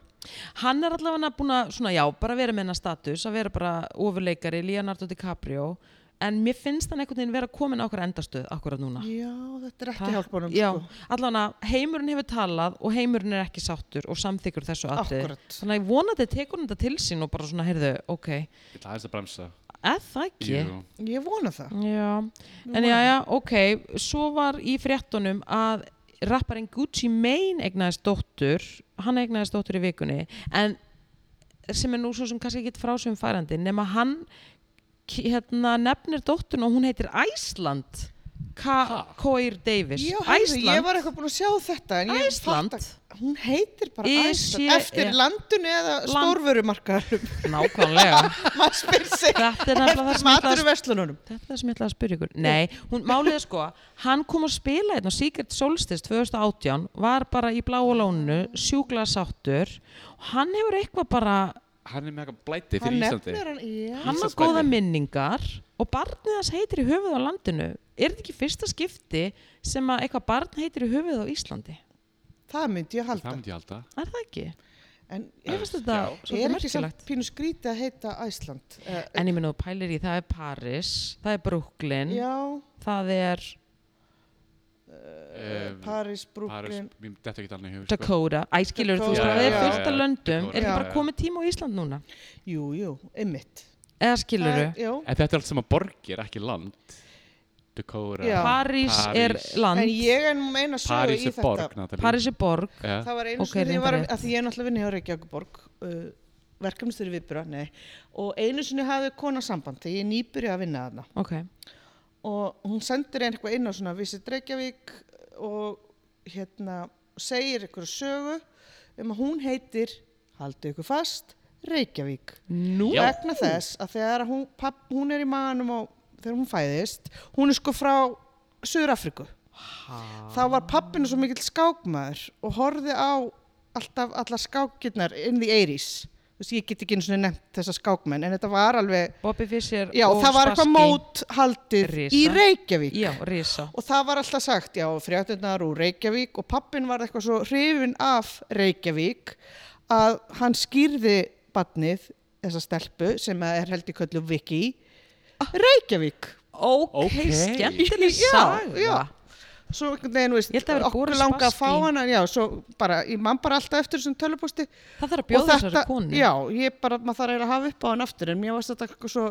A: Hann er allavega búin að, svona já, bara vera með hennar status, að vera bara ofurleikari, Leonardo DiCaprio, en mér finnst hann einhvern veginn vera komin á okkur endastöð akkurat núna.
C: já, þetta er ekki hjálpunum
A: Já,
C: sko.
A: allavega heimurinn hefur talað og heimurinn er ekki sáttur og samþykkur þessu atrið.
C: Akkúrat.
A: Þannig að ég vona að þið tekur hann þetta til sín og bara svona, heyrðu, ok,
B: ég ætla aðeins að bremsa
A: eða það ekki?
B: Jú.
C: ég vona það
A: Já, en já, já, ok, svo var í fréttunum að rapparinn Gucci Mane egnaðist dóttur, hann egnaðist dóttur í vikunni, en sem er nú svo sem kannski ekki frá sem færandi, nema hann ki- hérna, nefnir dótturinn og hún heitir Æsland,
B: Ha?
A: Coir Davis,
C: Já, heyrðu, ég
A: Æsland,
C: var eitthvað búin að sjá þetta en ég
A: Æsland.
C: fatta- hún heitir bara
A: Í-
C: Æsland
A: sé-
C: eftir
A: ja.
C: landinu eða
A: Land.
C: stórvörumarkaðarum
A: nákvæmlega,
C: [LAUGHS] maður spyr sig
A: þetta er nefnilega það
C: eftir
A: sem ég ætla að
C: maturverslununum
A: Þetta er það sem ég ætlaði að spyrja ykkur. Nei, hún, málið er sko, hann kom að spila hérna á Secret Solstice 2018, var bara í bláa lónu, sjúkla sáttur og hann hefur eitthvað bara,
B: hann er með eitthvað blæti
C: hann
B: fyrir Íslandi
C: nefnir hann já.
A: hann á
B: Íslandsbanki.
A: góða minningar og barnið hans heitir í höfuð á landinu. Er þetta ekki fyrsta skipti sem að eitthvað barn heitir í höfuð á Íslandi?
C: það myndi ég halda
B: það myndi ég halda
A: Er það ekki?
C: en
A: Ég
C: ég
A: finnst þetta
B: Já.
A: svolítið
C: er ekki samt
A: merkilegt.
C: pínu skríti að heita Æsland uh,
A: En ég minna þú pælir í, það er Paris, það er Brooklyn,
C: já,
A: það er
B: Em,
C: Paris,
B: Paris,
C: Brooklyn
B: mér þetta ekki alveg hefur
A: Dakota, æskilur, þú veist,
C: Dakota,
A: það er
C: já,
A: fullt af
B: já,
A: löndum.
B: Dakota,
A: Er ekki bara
B: já, já.
A: komið tíma á Ísland núna?
C: jú, jú, ymmit
A: Eða skilur
C: já,
B: En þetta er allt saman borgir, ekki land Dakota
C: Já.
A: París er land,
C: en ég er meina sögu
B: París
C: í
B: er
C: þetta
B: borg, Natalie
A: París er borg
B: Já.
C: það var einu
A: Ok,
C: okay, sinni ég var,
A: reyndar rétt.
C: að því ég er náttúrulega vinni hjá Reykjavíkuborg uh, verkefnistur í Vibra, nei og einu sinni hafði kona samband þegar ég nýbyrja að vinna þarna
A: Ok,
C: og hún sendir einn eitthvað inn á svona visit Reykjavík og hérna segir eitthvað sögu um að hún heitir haldið ykkur fast, Reykjavík
A: nú
B: Já.
C: vegna þess að þegar hún, papp, hún er í maðanum og þegar hún fæðist hún er sko frá Suður Afriku þá var pappinu svo mikill skákmaður og horfði á alltaf allar skákirnar in the 80s þú veist, ég get ekki einu svona nefnt þessa skákmenn en þetta var alveg,
A: Bobby Fischer
C: já,
A: og
C: það var eitthvað
A: Spassky.
C: mót haldið
A: Risa.
C: í Reykjavík
A: Já, Risa
C: og það var alltaf sagt, já, fréttunar úr Reykjavík og pappin var eitthvað svo hrifin af Reykjavík að hann skýrði badnið, þessa stelpu sem að er held í köllu Viki Reykjavík
A: Ok,
B: Ok.
A: skemmtileg
C: Já,
A: saga
C: já. svo einhvern veginn, veist,
A: Ég held að það hafi
C: okkur
A: borist
C: langa að fá
A: baski.
C: hana já, svo bara, ég man bara alltaf eftir þessum tölupústi
A: Það þarf að bjóða þessari konu
C: já, ég bara, maður þarf eiginlega að hafa upp á hann aftur en mér varst þetta eitthvað svo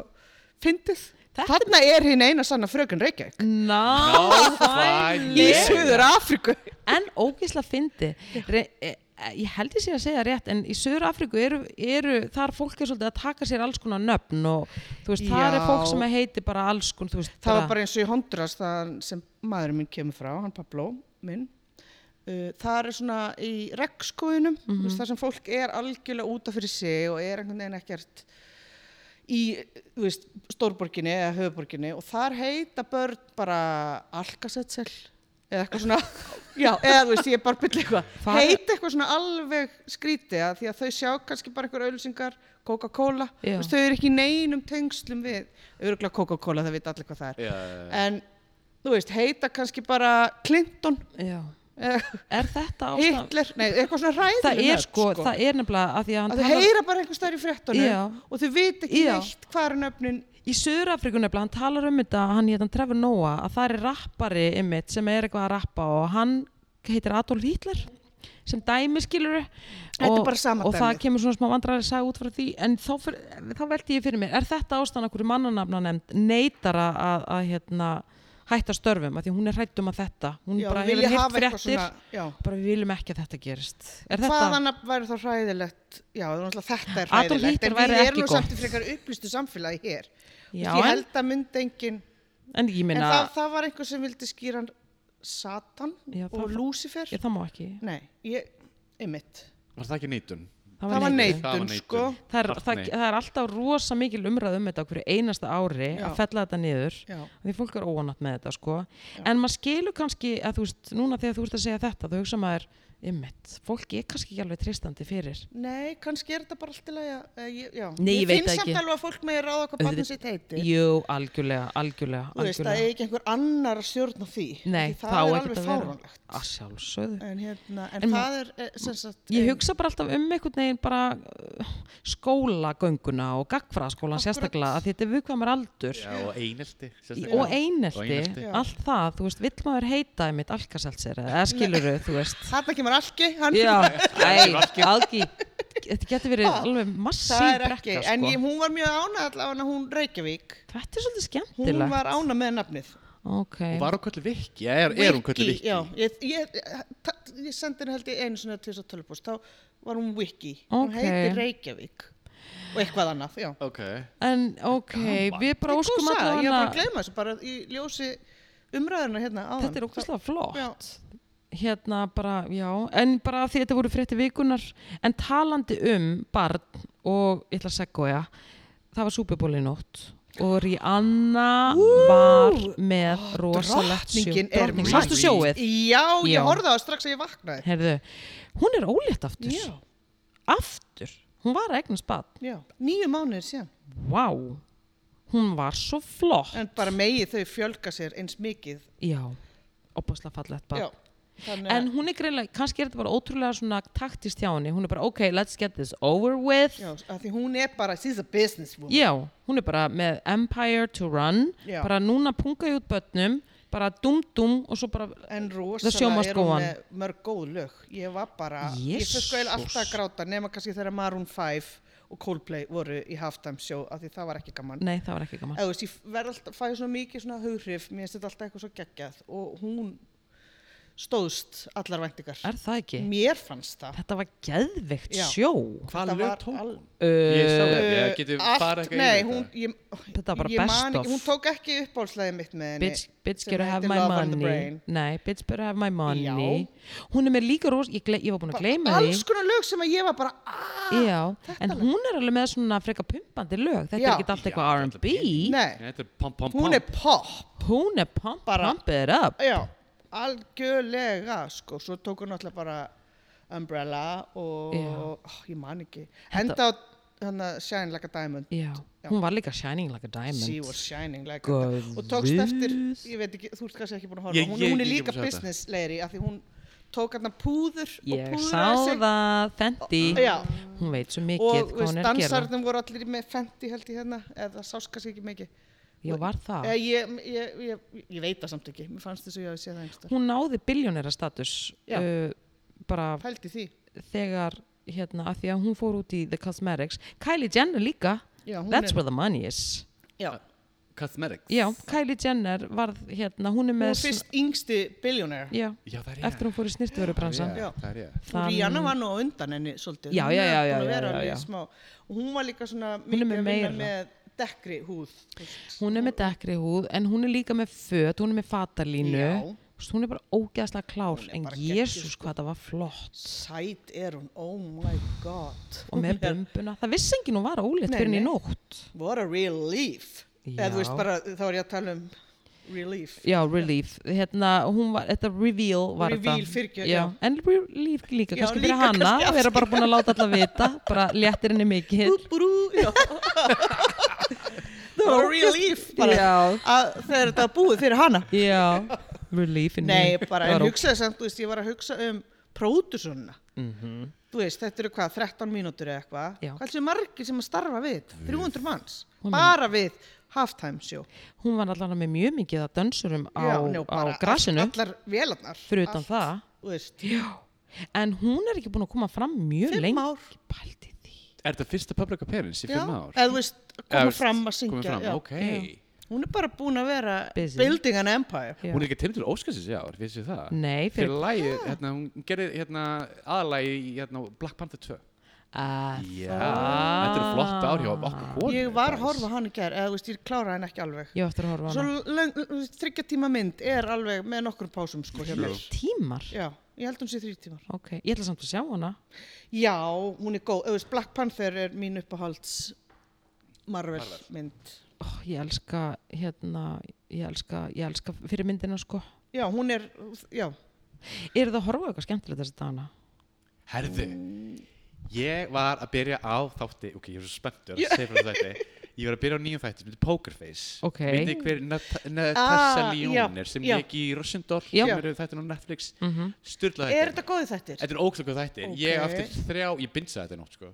C: fyndið
A: Þetta-
C: þarna er hinn eina sanna fröken Reykjavík
A: Ná,
B: Nákvæmlega.
C: í
A: fæli
B: Ég-
C: Suður Afriku
A: En ógislega fyndi Re- e- ég held ég sé að segja rétt en í Söður Afríku eru, eru þar fólk er svolítið að taka sér alls konar nöfn og þú veist, þar er
C: Já.
A: fólk sem heiti bara alls konar, þú veist,
C: það var bara eins og í Honduras það sem maðurinn minn kemur frá, hann Pablo minn uh, það er svona í regnskóinum mm -hmm. þar sem fólk er algjörlega útaf fyrir sig og er einhvern veginn ekkert í þú veist, stórborginni eða höfuborginni og þar heita börn bara algasetsel eða eitthvað svona já, eða þú veist, ég er bara byrja eitthvað
A: Far-
C: heita eitthvað svona alveg skrítið að því að þau sjá kannski bara eitthvað auðlýsingar Coca-Cola,
A: Já.
C: þú veist, þau eru ekki í neinum tengslum við, örgulega Coca-Cola það veit allir hvað það er en þú veist, heita kannski bara Clinton
A: já.
C: eh,
A: er þetta ástæðan?
C: Hitler, nei, eitthvað svona ræðileg
A: það er
C: nöfn,
A: sko, það er nefnilega að því að hann
C: að þau
A: talar-
C: heyra bara einhvers staðar í fréttunum
A: Já.
C: og þau veit ekki
A: Já.
C: neitt hvað er nöfnin
A: í Söður Afríku nefnilega, hann talar um þetta hann hétan Trevor Noah, að það er rappari ymmit sem er eitthvað að rappa og hann heitir Adolf Hitler sem dæmi skilur
C: Þetta er bara sama
A: og það
C: dæmið.
A: kemur svona smá vandræði sæg út frá því en þá, fyr, þá velti ég fyrir mér er þetta ástæðan okkur mannanafna nefnd neytar að, að, að hérna, hætta störfum að því hún er hrætt um að þetta hún
C: Já,
A: bara
C: vilja
A: hefur
C: hafa
A: hirt
C: eitthvað
A: fréttir
C: já.
A: bara við viljum ekki að þetta gerist er þetta,
C: hvaðan væri þá hræðilegt já, það er náttúrulega þetta er
A: Adolf
C: hræðilegt
A: Hitler
C: en
A: væri
C: við
A: ekki
C: erum nú
A: gott.
C: samt í frekar upplýstu samfélagi hér
A: Já,
C: já, ég
A: en-
C: held að mynd engin
A: en ég
C: en
A: minna
C: það, það var einhver sem vildi skýra hann Satan
A: Já, það
C: og
A: var-
C: Lucifer
A: ég, það má ekki
C: nei, ég, einmitt
B: Var það ekki neitun?
A: það
C: það var
A: neitun.
B: neitun. Það var
C: neitun
B: neitun.
C: sko
A: það er, það,
B: Hartney.
A: það er alltaf rosa mikil umræð um þetta á hverju einasta ári
C: Já.
A: að fella þetta niður
C: Já.
A: því fólk er óanat með þetta sko en maður skilur kannski að þú veist núna þegar þú ert að segja þetta þú hugsa maður ymmit, fólk er kannski ekki alveg tristandi fyrir
C: Nei, kannski er þetta bara allt í lagi að- eh, ég- já.
A: Nei, ég
C: Ég
A: veit
C: finn
A: ekki.
C: samt alveg að fólk með ráða hvað barnið
A: Auðvitað-
C: sitt heiti
A: jú, algjörlega, algjörlega,
C: Þú veist, það
A: algjörlega.
C: er ekki einhver annar að stjórna því
A: Nei,
C: Því Það
A: á
C: er
A: ekkert
C: alveg
A: að vera.
C: fáránlegt
A: að sjálfsögðu
C: En, hérna, en,
A: En ma-
C: það er eh, sem sagt
A: Ég
C: ein-
A: hugsa bara alltaf um einhvern veginn bara uh, skólagönguna og gagfræðaskólan
C: Akkurat.
A: sérstaklega að þetta er viðkvæmar aldur
B: Já, og einelti sérstaklega.
A: og
B: Og
A: einelti,
B: einelti.
C: Já.
A: allt það, þú veist, vill maður heita einmitt alkaseltser eða skiluru, þú veist
C: Þarna kemur alki, hann
A: Já, æ, algi Þetta getur verið alveg massív
C: Ah, það er
A: brekka
C: ekki
A: sko.
C: En ég, hún var mjög ánægð allavega hún Reykjavík
A: Þetta er svolítið
C: Hún
A: skemmtilegt
C: var ánægð með nafnið
A: Ok,
B: Og var hún köllu Viki? Já, er,
A: um
B: er hún köllu Viki?
C: Já, ég, ég, ta- ég sendi henni held ég einu sinni til þess að tölupúst Þá var hún Wiki Hún
A: Ok.
C: heitir Reykjavík Og eitthvað annað, já
B: Ok.
A: en ok, við bara
C: Þetta er góð
A: óskum
C: saga,
A: allavega
C: Ég var bara að gleyma þessu bara í ljósi umræðuna hérna áðan.
A: Þetta er ókvæslega flott
C: Já.
A: Hérna bara, já, en bara af því þetta voru frétti vikunar En talandi um barn og, ég ætla að segja já, það var súpubóli nótt Og Rihanna var með rosalegt sjó
C: drottningin er
A: Drottning,
C: mætt.
A: sástu sjóið?
C: Já,
A: Já.
C: ég horfði á það strax að ég vaknaði.
A: Herðu, hún er ólétt aftur
C: Já.
A: Aftur, hún var að eignast bad
C: Já, nýju mánuðir síðan.
A: Vá, hún var svo flott
C: En bara megi þau fjölga sér eins mikið.
A: Já, opaslega fallegt bad
C: Já, þannig
A: En
C: að,
A: hún er greinlega, kannski er þetta bara ótrúlega svona taktist hjá henni Hún er bara, ok, let's get this over with
C: já, að því hún er bara, she's a business woman.
A: Já, hún er bara með empire to run
C: Já.
A: Bara núna punga ég út börnum Bara dum-dum og svo bara
C: En
A: The show must
C: rosalega er
A: go
C: hún
A: on.
C: með mörg góð lög. Ég var bara, ég fyrir sko
A: Jesus.
C: eða alltaf að gráta nema kannski þegar Maroon 5 og Coldplay voru í halftime show af því það var ekki gaman.
A: Nei, það var ekki gaman
C: Eða, þú veist, ég verð alltaf, fæði svona mikið svona hughrif, mér finnst þetta alltaf eitthvað svo geggjað og hún stóðst allar væntingar.
A: Er það ekki?
C: Mér fannst það.
A: Þetta var geðveikt
C: Já.
A: sjó
B: Hvað
C: Þetta
B: lög
C: var
B: tók?
C: al-
B: Ég sá
A: uh,
B: það, ég geti farið eitthvað
C: nei,
B: yfir
C: hún,
B: þetta.
C: ég,
A: Þetta var bara
C: ég man
A: best
C: ekki,
A: of.
C: Hún tók ekki uppáhaldslæðið mitt með henni.
A: Bitch, bitch
C: sem
A: better have
C: heitir
A: my
C: Love on the
A: money
C: Brain.
A: Nei, bitch better have my money
C: Já.
A: Hún er með líka ros Ég, gle, ég var búin að gleyma því
C: Alls konar lög sem að ég var bara, "Ah, aaaah,
A: Já, en hún er alveg með svona freka pumpandi lög Þetta er
C: Já.
A: ekki allt eitthvað R&B
C: nei,
B: Þetta er pom pom pom.
C: hún er pop.
A: Hún er pump,
C: Bara-
A: pump it up
C: Já, algjörlega, sko, svo tók hún alltaf bara Umbrella og,
A: Já.
C: ó, ég man ekki, enda á hann að Shine Like a Diamond.
A: Já, hún var líka shining like a
C: She
A: diamond
C: was shining like a
A: Guð.
C: diamond. og tókst eftir, ég veit ekki, þú ert kannski ekki búin að horfa,
B: Ég-
C: hún,
B: ég-
C: hún er
B: ég- ég
C: líka
B: búin að sjá þetta.
C: business leiri af því hún tók hann púður og
A: Ég sá
C: púðraði sig
A: það, Fendi
C: Já.
A: Hún veit svo mikið
C: og
A: hvað hún er að gera
C: dansarðum voru allir með Fenty held ég hérna eða sást kannski ekki mikið
A: Já, var það
C: ah. ég, ég, ég, ég veit það samt ekki, mér fannst þess að ég hafi séð það einhverstað
A: Hún náði biljónera status
C: Já.
A: uh, bara
C: pældi því,
A: þegar hérna, að því að hún fór út í The Cosmetics Kylie Jenner líka
C: já hún
A: That's
C: er
A: where the money is
C: já,
B: Cosmetics
A: Já, Kylie Jenner varð hérna, hún er
C: Hún
A: með
C: er fyrst yngsti billionaire
A: já,
B: Já, það er ég
A: eftir hún fór í snirtivörubransan
B: Já, það er ég
C: og Rihanna var nú á undan henni svolítið
A: Já,
C: Hún
A: já,
C: er
A: já, já,
C: búin
A: já,
C: að vera
A: já,
C: alveg
A: já.
C: smá. Og hún var líka svona
A: Hún er
C: mikið
A: með
C: að vinna
A: meira.
C: með dekkri húð þú veist.
A: hún er með dekkri húð en hún er líka með föt, hún er með fatalínu
C: Já.
A: Þú veist, hún er bara ógeðslega klár
C: Hún er
A: en
C: bara sko. geggjuð,
A: jésús hvað það var flott
C: sæt er hún, oh my god [LAUGHS]
A: og með bumbuna, það vissi enginn hún var ólétt
C: Nei,
A: fyrir henni í
C: nei.
A: nótt
C: what a relief eða þú
A: Já.
C: veist bara, þá er ég að tala um relief
A: já, relief, hérna, hún var þetta reveal var
C: Reveal,
A: þetta
C: fyrirgefðu,
A: já.
C: já.
A: en relief líka,
C: Já,
A: kannski
C: líka
A: fyrir hana
C: kannski
A: við erum bara búin að láta alla
C: [LAUGHS]
A: vita, bara léttir henni mikið
C: Bú, bú, bú,
A: [LAUGHS]
C: já. What a relief bara,
A: já,
C: að þegar þetta var búið fyrir hana
A: já, relief in
C: Nei,
A: me.
C: bara
A: Það
C: en
A: var
C: hugsaði samt, þú veist, ég var að hugsa um pródusuna. Þú veist, þetta eru hvað, 13 mínútur eða eitthvað.
A: Mhm. Já.
C: Hvað er margir sem að starfa við þetta? 300 manns. Bara við halftime show.
A: hún var allavega með mjög mikið að dansurum á,
C: nei, og
A: á
C: bara
A: grasinu
C: all- Allar vélarnar.
A: fyrir utan
C: Allt,
A: það
C: Þú veist,
A: en hún er ekki búin að koma fram mjög
C: fimm
A: lengi
C: ár.
A: pældi því
B: Er þetta fyrsta public appearance í
C: Já,
B: fimm ár?
C: eða þú veist,
B: Eða,
C: koma
B: veist,
C: fram að syngja.
B: Komið fram,
C: já.
B: ok
C: Hún er bara búin að vera
A: Busy.
C: building an empire.
A: Já.
B: Hún er ekki timm til Óskarsins í ár, vissi það?
A: nei,
B: Fyrir
A: fyrir
B: lagið,
C: Ah.
B: hérna, hún gerði hérna, aðalagi í hérna, Black Panther 2
A: að
B: Já, þetta er flott ár hjá okkur konu
C: Ég var að horfa á hann í gær, eða þú veist, ég kláraði hann ekki alveg.
A: ég á eftir að horfa á
C: Svo
A: hana
C: löng, þryggja tíma mynd er alveg með nokkrum pásum sko hjá mér.
A: tímar,
C: Já, ég held hún sé þrý tímar.
A: ok, ég ætla samt að sjá hana
C: Já, hún er góð. Þú veist, Black Panther er mín uppahalds Marvel, mynd.
A: Ó, ég elska hérna ég elska, ég elska fyrir myndina sko
C: Já, hún er, já,
A: er það að horfa á eitthvað skemmtilegt þessi dagana
B: Herðu, ég var að byrja á þátti Ok, ég er svo spenntur að segja frá þætti Ég var að byrja á nýjum þætti sem heitir Pokerface
A: Ok.
B: Myndi hver Nat- Natasha
C: Ah, já,
B: Lyonne er sem
C: já.
B: leik í Russendorf
A: Já.
B: sem eru þættin á Netflix mm -hmm.
C: er
B: þættir
C: þetta góði þættir?
B: Þetta er ókslega góð þættir Ég
C: Ok.
B: eftir þrjá, ég bindsa þetta í nótt sko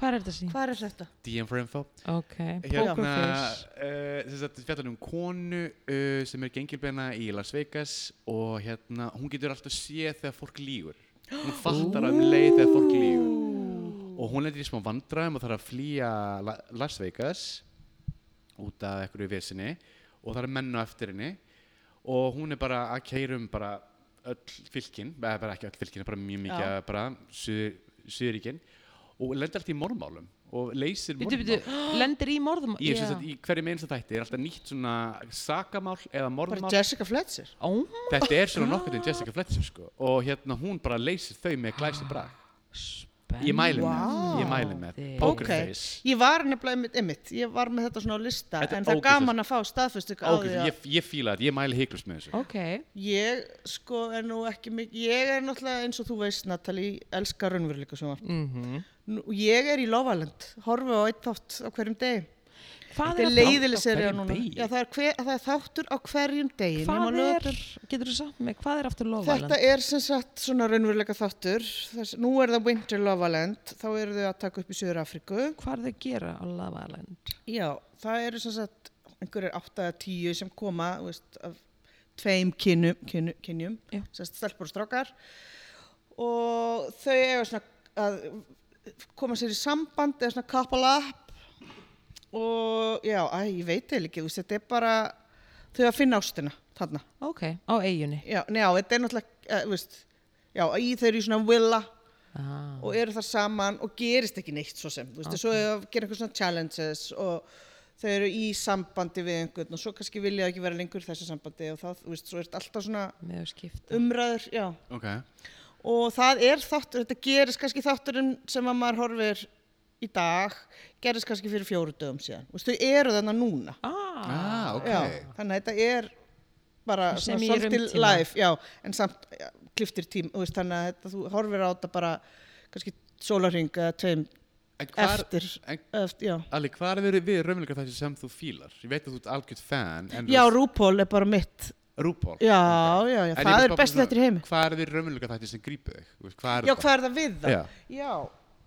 A: hvað er þetta sín?
C: Hvað er þetta?
B: DM for info
A: ok,
B: hérna,
A: Pokerface
B: uh, þess að fjallar um konu uh, sem er gengilbeina í Las Vegas og hérna, hún getur alltaf séð þegar fólk lígur hún fattar um leið þegar fólk lígur og hún lendir í smá vandræðum og þarf að flýja La Las Vegas út af einhverju vesinni og það er menn á eftir henni og hún er bara að keyra um bara öll fylkin, eða bara ekki öll fylkin, bara mjög mikið
C: Já.
B: bara suður, suðuríkin og lendir alltaf í mormálum og leysir
A: Bíddu,
B: mormál
A: bíddu, lendir í morðum
B: Ég
A: Já.
B: finnst að í hverju meins að þætti er alltaf nýtt svona sakamál eða
C: Bara
B: morðmál.
C: Jessica Fletcher.
A: Ó,
B: Þetta er svona nokkur til Jessica Fletcher sko og hérna hún bara leysir þau með
A: Ah.
B: glæsi brag.
A: spenn
B: Ég mæli með,
C: Vá.
B: ég mæli með.
A: Þið-
B: Poker
C: Ok.
B: face.
C: Ég var nefnilega einmitt, einmitt, ég var með þetta svona á lista,
B: Þetta er
C: en það er
B: ógeðslegt.
C: gaman að fá staðfestingu á
B: Ok,
C: því að
B: ég, ég fíla þetta, ég mæli heiklust með þessu.
A: ok,
C: ég sko er nú ekki mikið, ég er náttúrulega eins og þú veist Natalie, elskar raunveruleika sjónvarp. Mm
B: Mhm.
C: -hmm. Ég er í Lovaland, horfi á eitt þátt á hverjum degi.
A: hvað
C: Þetta er
A: er þetta?
C: leiðileg serið
B: hverjum
C: núna.
B: degi?
C: Já, það, er hver, það er þáttur á hverjum degi.
A: Hvað
C: nema á
A: er,
C: laugardögum.
A: getur þú sagt mig, hvað er aftur Lovaland?
C: Þetta er sem sagt svona raunveruleika þáttur. Þess, nú er það Winter Lovaland, þá eru þau að taka upp í Suður Afríku.
A: Hvað er það að gera á Lovaland?
C: Já, það eru sem sagt einhverjir 8 eða 10 sem koma þú veist, af tveim kynjum, kynjum, kynjum
A: Já.
C: sem sagt stelpur og strákar og þau eiga svona að koma sér í samband eða svona couple up og já, æ, ég veit eða ekki, þú veist, þetta er bara þau að finna ástina þarna.
A: Ok, á eiginni.
C: Já, njá, þetta er náttúrulega, uh, veist, já, í þau eru í svona villa
A: Ah.
C: og eru þar saman og gerist ekki neitt svo sem, þú veist, okay. svo eru- gera eitthvað svona challenges og þau eru í sambandi við einhvern og svo kannski vilja þau ekki vera lengur í þessu sambandi og þá, þú veist, svo er alltaf svona
A: Með að skipta.
C: umræður, já,
B: Ok.
A: Ah.
C: og það er þáttur, þetta gerist kannski þátturinn sem að maður horfir í dag, gerist kannski fyrir fjóru dögum síðan, þú veist, þau eru þarna núna,
A: Ah,
B: Ah, ok.
C: já, þannig að þetta er bara
A: Sem
C: svona
A: í
C: svolítið
A: rauntíma.
C: live, já, en samt já, kliftir tím, þú veist, þannig að þetta, þú horfir á þetta bara kannski sólarring eða tveim
B: En hvar,
C: eftir,
B: en,
C: eftir já.
B: Ali, hvað er við raunveruleika þessi sem þú fílar? Ég veit að þú ert algjört fan, en
C: já, RuPaul er bara mitt
B: Rúpol.
C: já, já, já, það er bestu þetta í heimi
B: Hvað er við raunveruleika þessi sem grípu þig? Þú veist, Hvað er
C: já, hvað er það við það?
B: Já.
C: Já,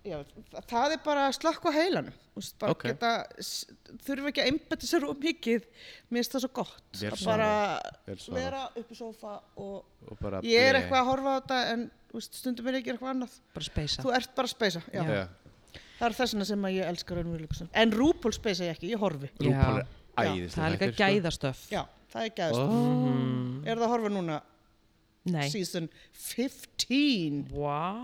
C: já, þa- það er bara að slakka á heilanum Þú veist, bara
B: Ok.
C: geta, s- þurfa ekki að einbæta sér og mikið mér finnst það svo gott
B: Vel
C: að
B: svarað,
C: bara
B: vel svarað.
C: vera upp í sófa og
B: Og bara
C: ég er
B: bleh.
C: eitthvað að horfa á þetta en þú veist, stundum er ég að gera eitthvað annað
A: bara speysa.
C: þú ert bara að speysa, já.
B: Já.
C: það er þessina sem að ég elskar raunveruleikusun en RuPaul speysa ég ekki, ég horfi
A: Já.
B: Rúpol er sko.
C: Já,
B: æðislega
A: það er líka gæðastöf
C: Já, það er gæðast.
B: mm.
C: Er það að horfa núna?
A: Nei,
C: Season 15.
A: vá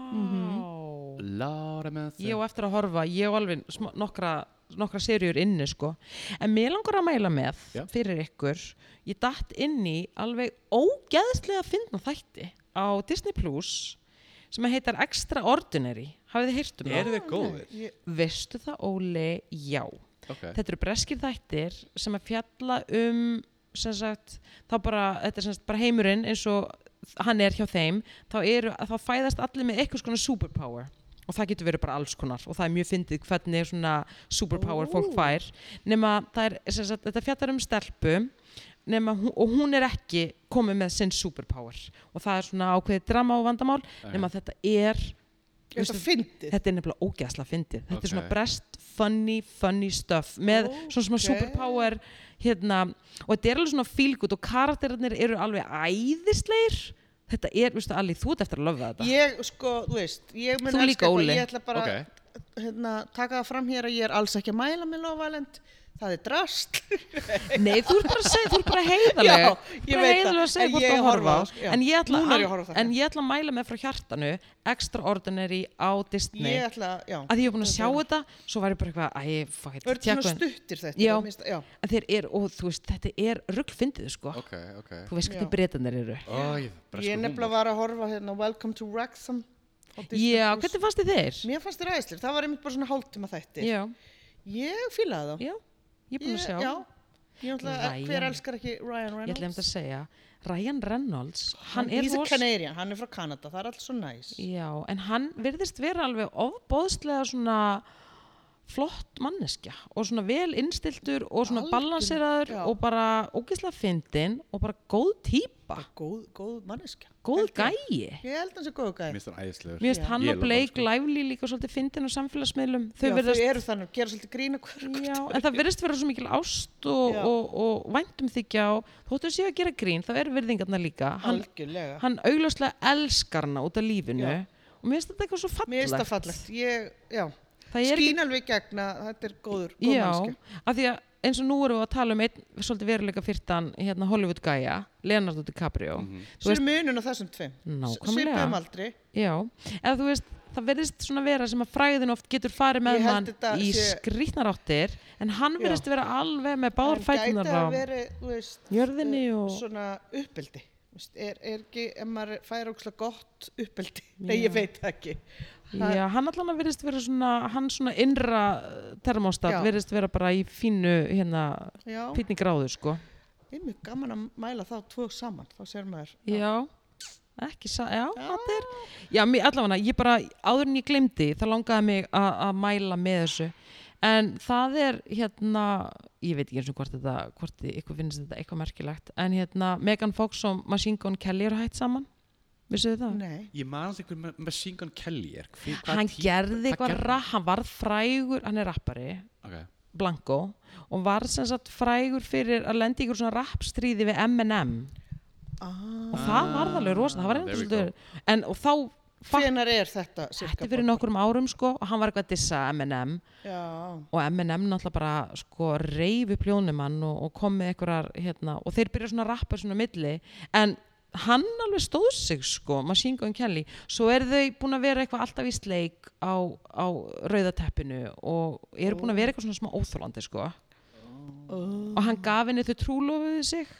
B: Mhm. Lára með
A: Ég
B: þau
A: á eftir að horfa, ég á alveg sm- nokkra, nokkra serjur inni sko en mér langar að mæla með
B: Já.
A: fyrir ykkur ég datt inn í alveg ógeðslega fyndna þætti á Disney Plus sem heitar Extraordinary hafið þið heyrt um
B: Eru
A: það?
B: þið góðir?
C: Ég,
A: Veistu það Óli? Já
B: Ok,
A: Þetta eru breskir þættir sem að fjalla um sem sagt, þá bara, þetta er sem sagt bara heimurinn eins og hann er hjá þeim þá, eru, þá fæðast allir með eitthvað svona superpower og það getur verið bara alls konar og það er mjög fyndið hvernig svona superpower fólk
C: Ó.
A: fær nema það er, sem sagt, þetta fjallar um stelpu nema, hún- og hún er ekki komið með sinn superpower og það er svona ákveðið drama og vandamál nema þetta er
C: ég
A: um
C: veist að fyndið.
A: þetta er nefnilega ógæðslega fyndið þetta er svona
B: Ok.
A: brest, funny, funny stuff með svona svona
C: Ókei.
A: superpower hérna, og þetta er alveg svona fílgut og karakterinir eru alveg æðisleir þetta er, veistu Ali, þú ert eftir að löfa þetta
C: Ég, sko, þú veist, ég mun
A: Þú líka,
C: eitthvað.
A: Óli.
C: ég ætla bara
B: ok
C: hérna, taka það fram hér að ég er alls ekki að mæla með Lovalent. Það er drast.
A: nei, þú ert bara að segja, þú ert bara heiðaleg
C: [LAUGHS] Já, ég
A: bara
C: veit
A: heiðaleg
C: það.
A: að segja
C: En
A: hvort
C: ég
A: þú
C: horfa
A: horfa á.
C: á, sko, já.
A: en ég, ætla
C: Núna
A: að-
C: er ég að horfa á það.
A: en ég ætla að mæla með frá hjartanu Extraordinary á Disney
C: Ég ætla, já.
A: að því ég er búin að sjá þetta svo væri bara eitthvað, æ, fuck it,
C: Það er
A: tjekkum.
C: svona stuttir þetta.
A: Já.
C: það minnst- já.
A: En þeir eru, og þú veist, þetta er ruggfyndið sko
B: Ok, ok
A: þú veist hvernig
C: Já.
A: breytanir eru
B: Ó, ég- breskur
C: Ég nefnilega
B: sko, húmor.
C: var að horfa hérna á Welcome to Wrexham. á Disney
A: já,
C: Plus.
A: hvernig fannst þið þeir?
C: Mér fannst þér æðislega. Það var einmitt bara svona hálftíma þætti.
A: já,
C: Ég fílaði þá.
A: já, ég er búin að sjá
C: Já. Ég ætla,
A: Ryan.
C: hver elskar ekki Ryan
A: ég ætla um
C: Reynolds?
A: að segja Ryan Reynolds, hann er
C: He's a
A: ros-
C: Canadian, hann er frá Kanada, það er allt svo næs.
A: já, en hann virðist vera alveg ofbóðslega svona flott manneskja og svona vel innstiltur og svona
C: Algjör-
A: balanseraður
C: já.
A: og bara ógislega fyndin og bara góð típa,
C: Góð, góð manneskja.
A: góð
C: Held ég.
A: gæi
C: Ég held hans að góð
B: Mér
C: gæði.
B: finnst hann æðislegur
A: Mér finnst
C: Já.
A: hann
B: Ég
A: og
B: love hann,
A: Blake
B: sko.
A: Lively líka svolítið fyndin á samfélagsmiðlum þau
C: Já,
A: virðast
C: þau eru þannig, gera svolítið grína hverjum.
A: Já, en það verðist vera svo mikil ást og,
C: Já.
A: og, og væntumþykja og þóttu séu að gera grín, þá er virðingarna líka hann,
C: Algjörlega.
A: hann augljóslega elskar hana út af lífinu
C: Já.
A: og mér finnst þetta eitthvað svo fallegt
C: Mér finnst það fallegt. Ég, já,
A: Það er ekki,
C: skín alveg gegna, þetta er góður, góð
A: já,
C: manneskja.
A: af því að eins og nú erum við að tala um einn svolítið veruleika fyrtan hérna Hollywood gæja, Leonardo DiCaprio Þú
C: Svo er munun á þessum tveim. Svipum
A: nákvæmlega,
C: aldrei.
A: já eða þú veist, það verðist svona vera sem að fræðin oft getur farið með
C: Ég held
A: hann
C: þetta
A: í
C: sé-
A: skrýtnaráttir en hann
C: Já.
A: verðist vera alveg með báðar
C: Það
A: fætunar
C: gæti
A: á
C: að vera, þú veist,
A: jörðinni
C: eh,
A: og
C: svona uppbyldi. Er, er ekki, ef maður fær ókslega gott [LAUGHS] uppbyldi, nei ég veit það ekki. Það-
A: Já, hann allan að verðist vera svona, hann svona innra uh, termostat
C: Já.
A: verðist vera bara í fínu, hérna,
C: Já,
A: fínni gráðu, sko.
C: ég er mjög gaman að mæla þá tvo saman, þá sér maður.
A: Já, ekki sa, já, þetta er, já, mér, allavega, ég bara, áður en ég glemdi, það langaði mig a- að mæla með þessu. En það er, hérna, ég veit ekki eins og hvort þetta, hvort þið- ykkur finnst þetta eitthvað merkilegt, en hérna, Megan Fox og Machine Gun Kelly eru hætt saman, vissuðu það?
C: Nei,
B: Ég man alltaf einhver með Singan Kelly er Hver- hvað
A: Hann
B: tí-
A: gerði
B: hvað
A: eitthvað,
B: gerði
A: ra- hann varð frægur, hann er rappari,
B: Ok,
A: Blanco og var sem sagt frægur fyrir að lenda í ykkur svona rapstríði við M&M
C: ah,
A: og það var alveg rosa, það var
B: Ah,
A: einhvern
B: there we
A: svolítið en og þá fatt,
C: hvenar er þetta? cirka,
A: þetta fyrir
C: Bogga?
A: nokkrum árum sko og hann var eitthvað að dissa M&M
C: Já,
A: og M&M náttúrulega bara sko reyfi pljónumann og, og kom með einhverjar hérna og þeir byrja svona að rappa svona á milli en hann alveg stóð sig sko Machine Gun Kelly, svo eru þau búin að vera eitthvað alltaf í sleik á, á rauðateppinu og eru búin að vera eitthvað svona smá óþólandi sko og hann gaf henni þau trúlofuðu sig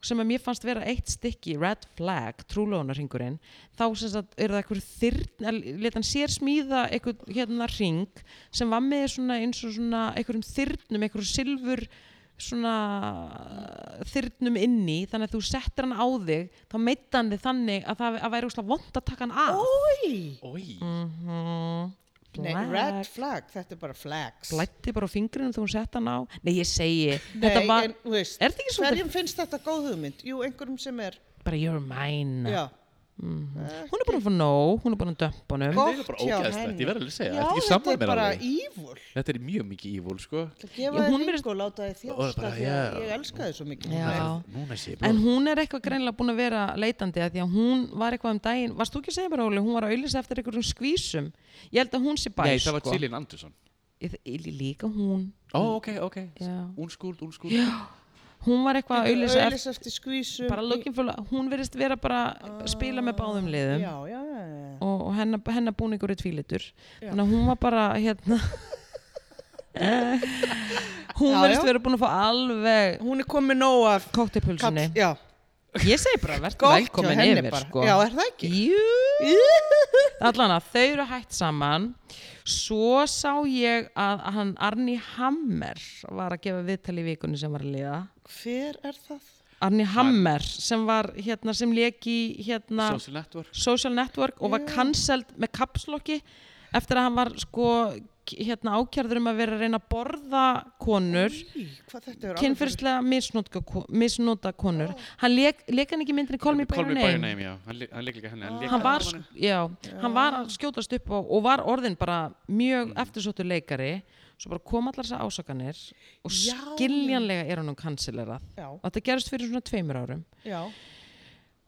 A: sem að mér fannst vera eitt stykki red flag, trúlónarringurinn þá sem sagt er það eitthvað þyrna leta hann sér smíða eitthvað hérna ring sem var með svona eins og svona einhverjum þyrnum, einhverjum silfur svona uh, þyrnum inni, þannig að þú settir hann á þig þá meitt hann þig þannig að það að væri úslega vond að taka hann af Mhm.
C: Oi,
B: oi
A: Mm.
C: nei, red flag, þetta er bara flags.
A: Blæddi bara á fingrinu þegar hún sett hann á Nei, ég segi,
C: Nei,
A: þetta var
C: en, þú veist,
A: Er þetta ekki svolítið-
C: hverjum finnst þetta góð hugmynd? Jú, einhverjum sem er,
A: bara you're mine
C: já,
A: Mhm.
C: Eh,
A: Hún er búin að fá nóg, hún er búin að dömpa honum
C: Gott
B: Þetta er bara
C: hjá
B: ógæðslegt,
C: henni.
B: ég verð alveg að segja
C: já
B: Þetta- Ég
C: þetta
B: sammála
C: er
B: mér
C: bara
B: alveg
C: ívul.
B: Þetta er mjög mikið ívól sko
C: Það
A: Já,
C: gefa
A: hún
C: þér
A: virðist-
C: ring og láta þér
B: Og
C: þjást
B: bara,
C: af því að
B: já.
C: ég elska þið svo mikið.
A: Já.
B: Nei, Núna sé ég
A: En
B: blóð
A: hún er eitthvað greinilega búin að vera leitandi að því að hún var eitthvað um daginn Varst þú ekki að segja mér, Óli, hún var að auðlýsa eftir einhverjum skvísum Ég held að hún sé bæs
B: Nei, það var
A: sko.
B: Gillian Anderson
A: ég, ég, líka hún
B: Ó, ok, ok
A: já.
B: Unskúld, unskúld
A: já, hún var eitthvað að auðlýsa eftir
C: auðlýsa eftir skvísum
A: bara looking for love, hún verðist vera bara
C: Ah,
A: spila með báðum liðum
C: já, já, já, já.
A: og, og hennar, hennar búningur er tvílitur
C: Já.
A: þannig að hún var bara hérna
C: [LAUGHS]
A: eh, hún
C: Já,
A: verðist
C: já.
A: vera búin að fá alveg
C: hún er komið nóg af
A: koktepulsunni
C: kall- já,
A: ég segi bara, verð
C: gott hjá
A: velkomin
C: henni
A: yfir
C: bara
A: sko.
C: já, er það ekki?
A: Jú Allan að þau eru hætt saman Svo sá ég að að hann Arni Hammer var að gefa viðtal í vikunni sem var að liða
C: hver er það?
A: Arni Hammer sem var hérna sem leki hérna
B: Social Network
A: Social Network og var cancelled með kapslokki eftir að hann var sko hérna ákjærður um að vera að reyna að borða konur
C: Í, hvað þetta er
A: kynfyrslega misnótka, misnóta konur hann leik, leik hann ekki í myndinni Call Me By Your Name Ah.
B: name, já Hann lí- hann leik líka henni Hann, lék
A: hann var, sko
B: henni.
A: sk- já, hann var að skjótast upp á, og var orðin bara
B: Mm.
A: mjög eftirsóttur leikari svo bara kom allar þessar ásakanir og
C: Já.
A: skiljanlega er hann um kansilerað
C: já,
A: og þetta gerist fyrir svona tveimur árum
C: já,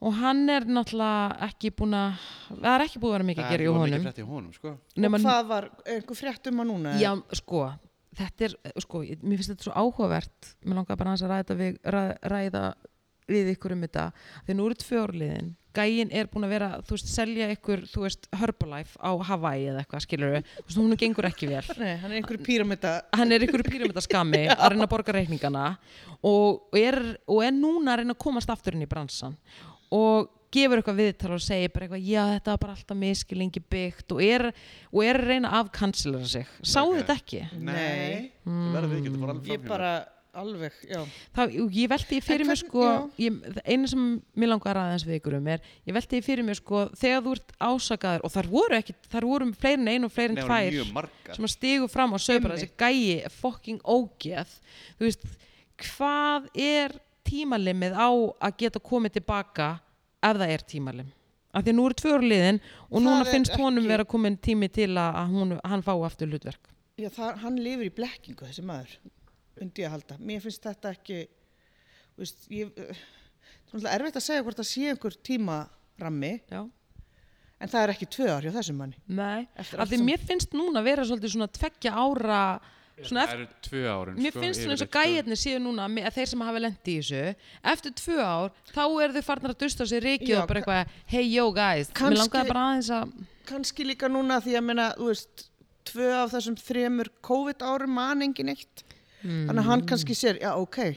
A: og hann er náttúrulega ekki búin að það er ekki búin að vera mikið að gera í
B: Það er
A: honum
B: mikið frétt í honum, sko
A: nema,
C: og hvað var einhver frétt um hann núna?
A: já, sko þetta er, sko, ég- mér finnst þetta svo áhugavert mér langar bara aðeins að ræða, við, ræða, ræða við ykkur um þetta því nú eru tvörliðin, gæin er búin að vera þú veist, selja ykkur, þú veist, Herbalife á Hawaii eða eitthvað, skilur við þú veist, hún gengur ekki vel
C: Nei, hann er einhver píramita
A: hann er ykkur píramitaskami að reyna að borga reikningana og, og, er, og er núna að reyna að komast aftur inn í bransan og gefur eitthvað viðtal og segir bara eitthvað, já þetta var bara alltaf miskilingi byggt og er, og er að reyna að afkansilera sig, sáðu
B: Ok.
A: þetta ekki
C: Nei.
B: Það
A: Mm.
B: verður ekki, þetta fór alveg
C: ég
B: framhjá
C: bara alveg, já
A: það, ég velti því fyrir
C: En
A: mér
C: hvern-
A: sko
C: já.
A: ég, það eina sem mér langar aðeins við ykkur um er ég velti því fyrir mér sko þegar þú ert ásakaður og þar voru ekki, þar voru fleirin ein og fleirin
B: Nei, það voru
A: tvær
B: mjög margar
A: sem að stigu fram og sögur bara þessi gæi er fucking ógeð þú veist, hvað er tímalimið á að geta komið tilbaka ef það er tímalim af því að nú eru tvö orliðin og
C: Það
A: núna
C: er
A: finnst honum
C: ekki-
A: vera komin tími til að að hún, hann fái aftur hlutverk
C: Já, það, hann lifir í blekkingu þessi maður undi ég að halda, mér finnst þetta ekki þú veist, ég eh, það er náttúrulega erfitt að segja hvort það sé einhver tímarammi,
A: já
C: en það er ekki tvö ár hjá þessum manni
A: Nei,
C: Eftir
A: af
C: allt
A: því
C: sem-
A: mér finnst núna vera svolítið svona tveggja ára svona
B: Það
A: eftir,
B: eru tvö árin, sko,
A: mér finnst svona eins og gæjarnir séu núna me- að þeir sem hafa lent í þessu eftir tvö ár, þá eru þau farnar að dusta á sig rikið
C: Já,
A: og bara eitthvað hey yo guys, mér
C: kannski-
A: langaði bara aðeins að
C: kannski líka núna því að meina, þú veist tvö af þessum þremur COVID árum man engin eitt
A: Hmm.
C: þannig að
A: Mm.
C: hann kannski sér, já ok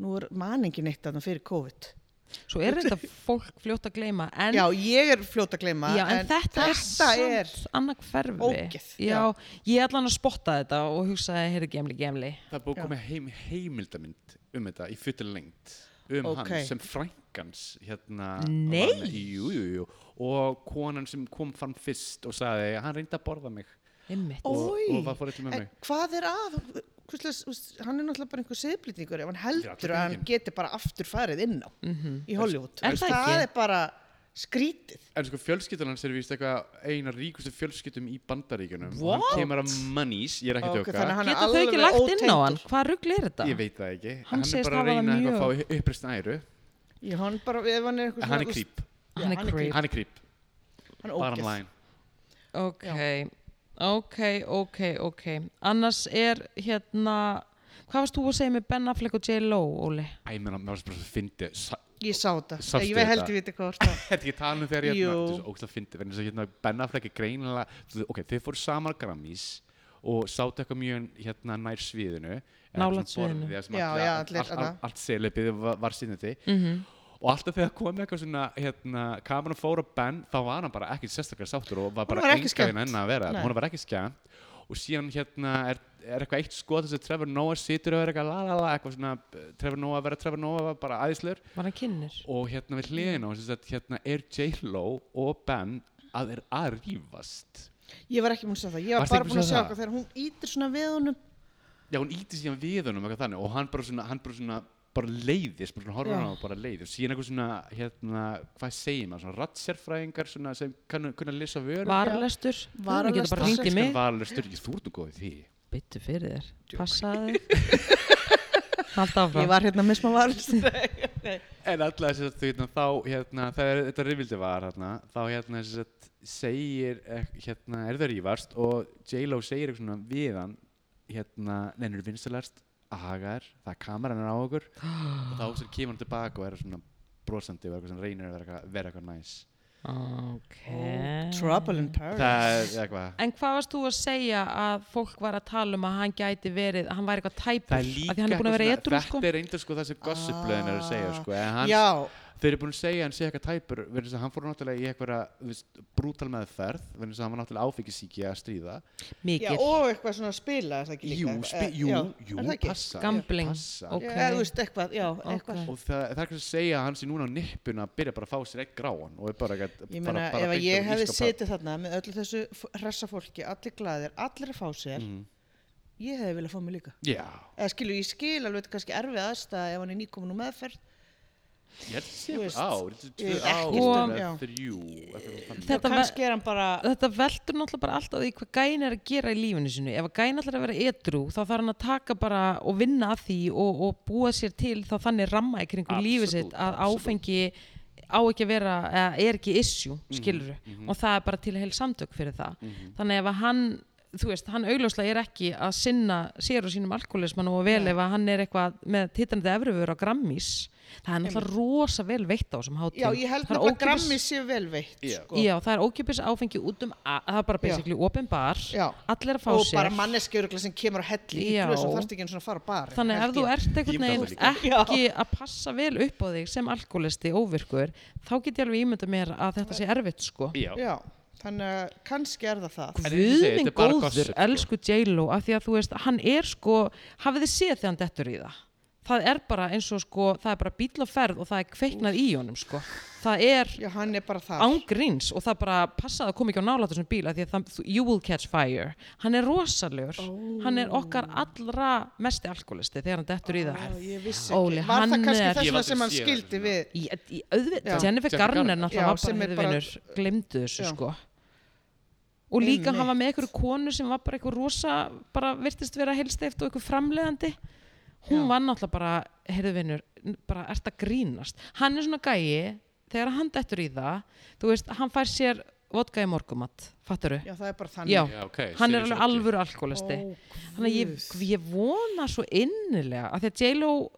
C: nú er man engin eitt þannig fyrir COVID
A: svo er þetta fólk fljótt að gleyma en,
C: já, ég er fljót að gleyma
A: já, en þetta, er
C: er,
A: samt annað hverfi
C: Ógeð,
A: já, ég ætla hann að spotta þetta og hugsaði, heyrðu gemli, gemli
B: Það er búið að koma heim, heimildamind um þetta í full lengt um
C: Ok.
B: hann sem frænkans hérna
A: Nei.
B: var með- jú, jú, jú, og konan sem kom fram fyrst og sagði að hann reyndi að borða mig
A: einmitt,
B: og,
C: Ói.
B: og var fór með
C: En
B: mig
C: hvað er að? Hvuslega, hann er náttúrulega bara einhver siðblýtingur ef hann
B: allir
C: heldur að hann
B: engin.
C: geti bara aftur farið inn á í Hollywood.
A: Mhm. Er það ekki?
C: er bara skrítið.
B: en sko fjölskyldan hans er vist eitthvað eina ríkustu fjölskyldum í bandaríkunum og
A: What?
B: hann kemur að mannís, ég er ekki eh?
C: Ok,
B: okay,
C: þannig að hann er
A: geta þau ekki
C: alveg
A: lagt inn á
C: ótengdur.
A: hann hvað rugl er þetta?
B: ég veit það ekki
A: Hann
B: hann er
A: segist
B: bara að
A: hafa það
B: reyna eitthvað að fá uppreist æru
C: Já, hann bara, ef hann er einhver
B: en hann er creep,
A: hann er creep
B: hann er creep,
C: Hann er
B: bottom
C: ógeð.
B: line
A: Ok, ok, ok, ok. Annars er hérna, hvað varst þú að segja með Ben Affleck og J.Lo, Óli?
B: Æ, menn, maður finnst bara að fyndi
C: Ég sá þetta.
B: Sástu
C: ég veit
B: þetta?
C: held ég viti hvað var það.
B: Þetta ekki tala um þegar ég
C: Jú.
B: hérna, þetta er svo ógst að fyndi, verðin þess að hérna Ben Affleck er greinilega, þú- ok, þau fóru saman á Grammys og sátu eitthvað mjög hérna nær sviðinu, eða
A: Nálægt
B: svona borðið,
A: sviðinu.
B: eða sem
C: Já,
B: allir-
C: já,
B: allt-
C: allir hérna.
B: allt-
C: þarna.
B: allt- Allt selebið var, var sinnandi.
A: Mhm.
B: Og alltaf þegar komið eitthvað svona, hérna, kameran fór á Ben, þá var hann bara ekki sérstaklega sáttur og var bara
C: var ekki
B: enga
C: skemmt.
B: veginn enna að vera.
C: Nei.
B: Hún var ekki skemmt. Og síðan hérna er, er eitthvað eitt skot þess að Trevor Noah situr og er eitthvað la la la, eitthvað svona, eh, Trevor Noah að vera Trevor Noah var bara æðislegur
A: Var hann kynir?
B: og hérna við hliðina og sem sagt hérna er J-Lo og Ben að er að rífast
C: Ég var ekki múin að segja það. Ég var
B: Varstu
C: bara
B: ekki
C: búin að
B: búin að
C: segja
B: sjá
C: okkur þegar hún ítir svona við honum.
B: já hún íti síðan við honum eitthvað þannig og hann bara svona, hann bara svona bara leiðist, bara svona horfa
C: Já.
B: hann á og bara leiðist síðan eitthvað svona, hérna, hvað segir maður svona rattsérfræðingar svona sem kannu kunna lesa vörur
A: Varalestur? Þú getur bara
C: Varalestur.
A: hringt í mig.
B: var alveg styrkið, þú ert nú góð í því
A: Byttu fyrir [LAUGHS] þér. Passaði þér. Haldt áfram.
C: Ég var hérna með smá varlust.
B: En alltaf þess að þú hérna, þá hérna, þegar þetta rifildi var hérna, þá hérna þess að segir eh, hérna, er það rífast og J-Lo segir eitthvað svona við hann hérna, neina eru vinstalast að haga þér, það er kameran er á okkur og þá sem kemur hann tilbaka og er svona brosandi og er eitthvað sem reynir að vera eitthvað, vera eitthvað næs
A: Ok.
C: Oh, Trouble in Paradise
B: Það er eitthvað
A: En hvað varst þú að segja að fólk var að tala um að hann gæti verið, að hann væri eitthvað tæpur?
B: Það er
A: Af
B: líka
A: því hann er búin að vera
B: eitthvað
A: edru,
B: svona-
A: sko.
B: Þetta er reynda sko það sem gossipblöðin eru að segja sko, en hann,
C: Já,
B: þeir eru búin að segja að hann sé eitthvað tæpur vegna þess að hann fór náttúrulega í eitthvað brútal meðferð vegna þess að hann var náttúrulega áfengisíki að stríða
C: já,
A: Mikið.
C: og eitthvað svona að spila er það ekki líka
B: Jú, spi,
C: Eh,
B: jú,
C: já,
B: jú,
C: er það ekki?
B: passa
A: Gambling.
B: passa.
A: Ok.
C: Eða þú veist eitthvað, já, eitthvað
A: Ok.
B: Og það, það er kannski að segja að hann sé núna á nippuna að byrja bara að fá sér eitt gráan og er bara eitthvað
C: Ég meina,
B: bara,
C: ef
B: bara
C: að ég hefði
B: sett
C: setið þarna með öllu þessu f- hressa fólki, allir glæðir, allir að fá sér,
B: Mm.
C: ég hefði viljað fá mig líka.
B: Já,
C: Eða skilur, ég skil alveg þetta er kannski erfið aðstæða ef hann er nýkomin úr meðferð.
B: ég held að sé
C: Þú
B: eitthvað
C: veist,
B: ár,
C: ég
B: tvö
C: veit ekki
A: stundum,
B: ár,
C: já.
B: eða þrjú eitthvað þannig.
A: Þetta
C: Þetta
A: var-
C: kannski er hann bara,
A: Þetta veltur náttúrulega bara alltaf því hvað gæn er að gera í lífinu sinu. Ef að gæn ætlar að vera edru þá þarf hann að taka bara og vinna að því og, og búa sér til þá þannig ramma í kringum
B: Absolutt,
A: lífið sitt að
B: absolutt.
A: áfengi á ekki að vera, eða er ekki issue,
C: Mhm,
A: skilur og það er bara til heil samtök fyrir það. Þannig ef að hann, þú veist, hann augljóslega er ekki að sinna sér og sínum alkoholismann og vel ef að hann er eitthvað með titanandi efrifur á grammís, það er náttúrulega rosa vel veitt á sem hátíð.
C: já, ég held
A: Það er
C: nefnilega
A: ókeypis-
C: grammi sé vel veitt,
B: Já.
C: sko.
A: Já, það er ókjöpis áfengi út um að, það er bara basically open bar,
C: Já.
A: allir að fá
C: Og
A: sér.
C: bara manneskjöruglega sem kemur að helli í
A: Já.
C: glöðs og þarfst ekki eins og að fara á bar.
A: Þannig ef þú ert
B: Ég
A: einhvern
B: myndi
A: veginn
B: alveg
A: ekki að passa vel upp á þig sem alkoholisti óvirkur, þá get ég alveg ímynda mér að þetta sé erfitt sko.
B: Já,
C: Já, þannig að kannski er það það.
B: En eins og ég segi,
A: Guðminn
B: þetta er bara gossip,
A: góður,
B: sko.
A: elsku J-Lo, af því að þú veist, hann er sko, hafið þið séð þegar hann dettur í það? Það er bara eins og sko, það er bara bíl á ferð og það er kveiknað í honum sko. Það er
C: Já, hann er bara það.
A: ángríns og það bara passaði að koma ekki á nálættu sem bíla því að það, þú- you will catch fire hann er rosalegur, hann er okkar allra mesti alkoholisti þegar hann dettur í það
C: Ég vissi
A: Óli,
C: ekki. Var
A: hann
C: það kannski
A: er-
C: þess
B: Ég
C: vegna
B: var
C: sem hann
B: til séð
C: skildi
B: þarna.
C: við?
A: Í- í- auðvitað, Jennifer
C: Já.
B: Jennifer
A: Garner
B: Garner.
A: náttúrulega
C: Já, sem
A: var
C: er
A: bara
C: bara-
A: hérðvinur, glemdu þessu
C: Já.
A: sko og líka
C: Einmitt.
A: hann var með einhverju konu sem var bara einhver rosa, bara virtist vera heilsteift og einhver framleiðandi hún
C: Já.
A: var náttúrulega bara, heyrðuvinur bara ert að grínast, hann er svona gæi þegar hann dettur í það þú veist, hann fær sér vodka í morgumat fattaru,
C: Já, það er bara þannig.
A: já,
B: Já, ok,
A: hann er alveg
B: serious orgi.
A: alvöru alkoholisti þannig að ég, ég vona svo innilega að því að J-Lo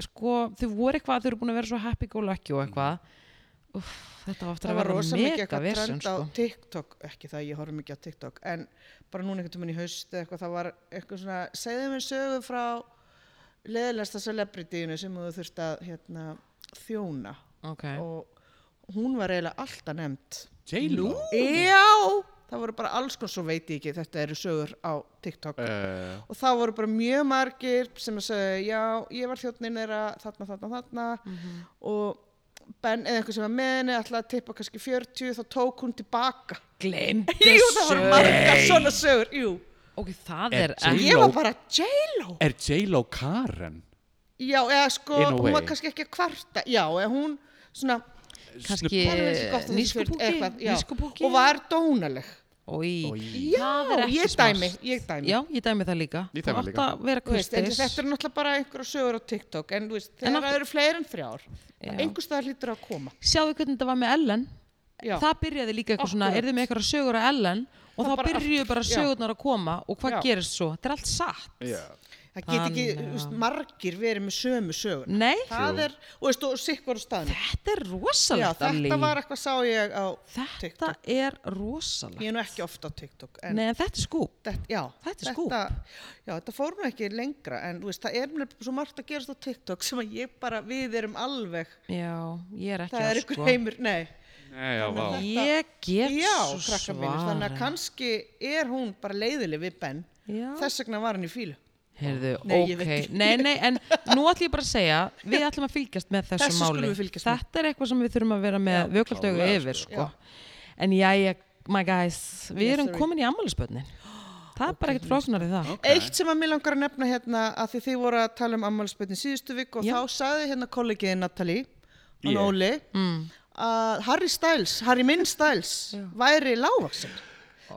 A: sko, þau voru eitthvað, þau eru búin að vera svo happy go lucky og eitthvað Úff, þetta var aftur
C: það
A: að
C: var
A: vera
C: rosa mikið
A: mega
C: eitthvað
A: vesinn
C: trend á
A: sko.
C: TikTok ekki það að ég horf mikið á TikTok en bara núna einhvern tímann í haust eða eitthvað það var eitthvað svona segðu mér sögu frá leðilegsta celebrityinu sem þú þurft að hérna, þjóna
A: ok,
C: og hún var eiginlega alltaf nefnd
B: J-Lo
C: já það voru bara alls konar svo veit ég ekki þetta eru sögur á TikTok
B: Eh,
C: og þá voru bara mjög margir sem að segja, já, ég var þjóttnin þeirra þarna, þarna, þarna og Ben eða einhver sem var með henni ætlaði að tippa kannski 40 þá tók hún tilbaka
A: glemdu
C: Jú, það voru margar
A: þessu
C: svona sögur, jú
A: ok, það
B: Er
A: er
B: J-Lo-
A: ekki
C: Ég var bara J-Lo
B: Er J-Lo Karen?
C: Já, eða sko,
B: In a
C: hún var
B: way.
C: kannski ekki að kvarta Já, eða hún svona
A: kannski
C: "Það er nú ekki gott að þessi 40 eða eitthvað,
A: nýskupúki
C: já.
A: nýskupúki
C: Og var dónaleg Já,
A: það er ekki
C: ég
A: smart.
C: dæmi, ég dæmi
A: já, ég dæmi það líka þú
B: Ég dæmi það
A: átt
B: líka.
A: að vera
C: Þú Veist, en
A: kurteis
C: þetta er náttúrulega bara einhverja sögur á TikTok en þú veist,
A: En
C: þegar
A: af-
C: það eru fleiri en þrjár
A: Já.
C: einhvers staðar hlýtur að koma
A: sjáðu hvernig þetta var með Ellen
C: Já.
A: það byrjaði líka eitthvað svona,
C: Akkurat.
A: er þið með eitthvað sögur að Ellen og
C: Það
A: þá
C: bara
A: byrjuðu
C: aftur,
A: bara
C: já.
A: sögurnar að koma og hvað
C: Já.
A: gerist svo, þetta er allt satt
C: Það get ekki
A: Þannig
C: þú veist,
A: að-
C: margir verið með sömu sögur.
A: nei,
C: Það er, og veist, og sikkur á staðinu.
A: þetta er
C: Já,
A: rosalegt
C: þetta
A: Allý.
C: var eitthvað sá ég á
A: þetta
C: TikTok.
A: er rosalegt
C: Ég er nú ekki ofta á TikTok, en
A: nei, en þetta er skúp
C: þetta, já,
A: Þetta er skúp.
C: já, þetta fór nú ekki lengra, en þú veist, það er mér svo margt að gerast á TikTok sem að ég bara, við erum alveg,
A: já, ég er ekki
C: það
A: að sko.
C: er ykkur heimur, nei.
B: Nei, já, vá
C: þetta-
A: ég get
C: Já,
A: svo
C: krakkar mínir, þannig að
A: svara
C: kannski er hún bara leiðileg við Ben.
A: Já.
C: Þess vegna var hann í fílu.
A: Heyrðu,
C: Nei, ég
A: ok,
C: veit ekki.
A: nei, nei, en nú ætlum ég bara að segja, við ætlum að fylgjast með þessu,
C: Þessu skulum
A: máli,
C: við fylgjast með.
A: þetta er eitthvað sem við þurfum að vera með vökaldaugu
B: klárlega,
A: yfir, sko, en jæja, my guys, við
C: Yes,
A: erum
C: sir.
A: komin í ammálisbönnin, það er bara ekkert flóknar í það,
C: Eitt sem að mér langar að nefna hérna að því þið voru að tala um ammálspötni síðustu vik og
A: Já.
C: þá sagði hérna kollegiði Natalie og
B: Ég.
A: Mm.
C: Nóli að Harry Styles, Harry minn Styles væri lágvaksin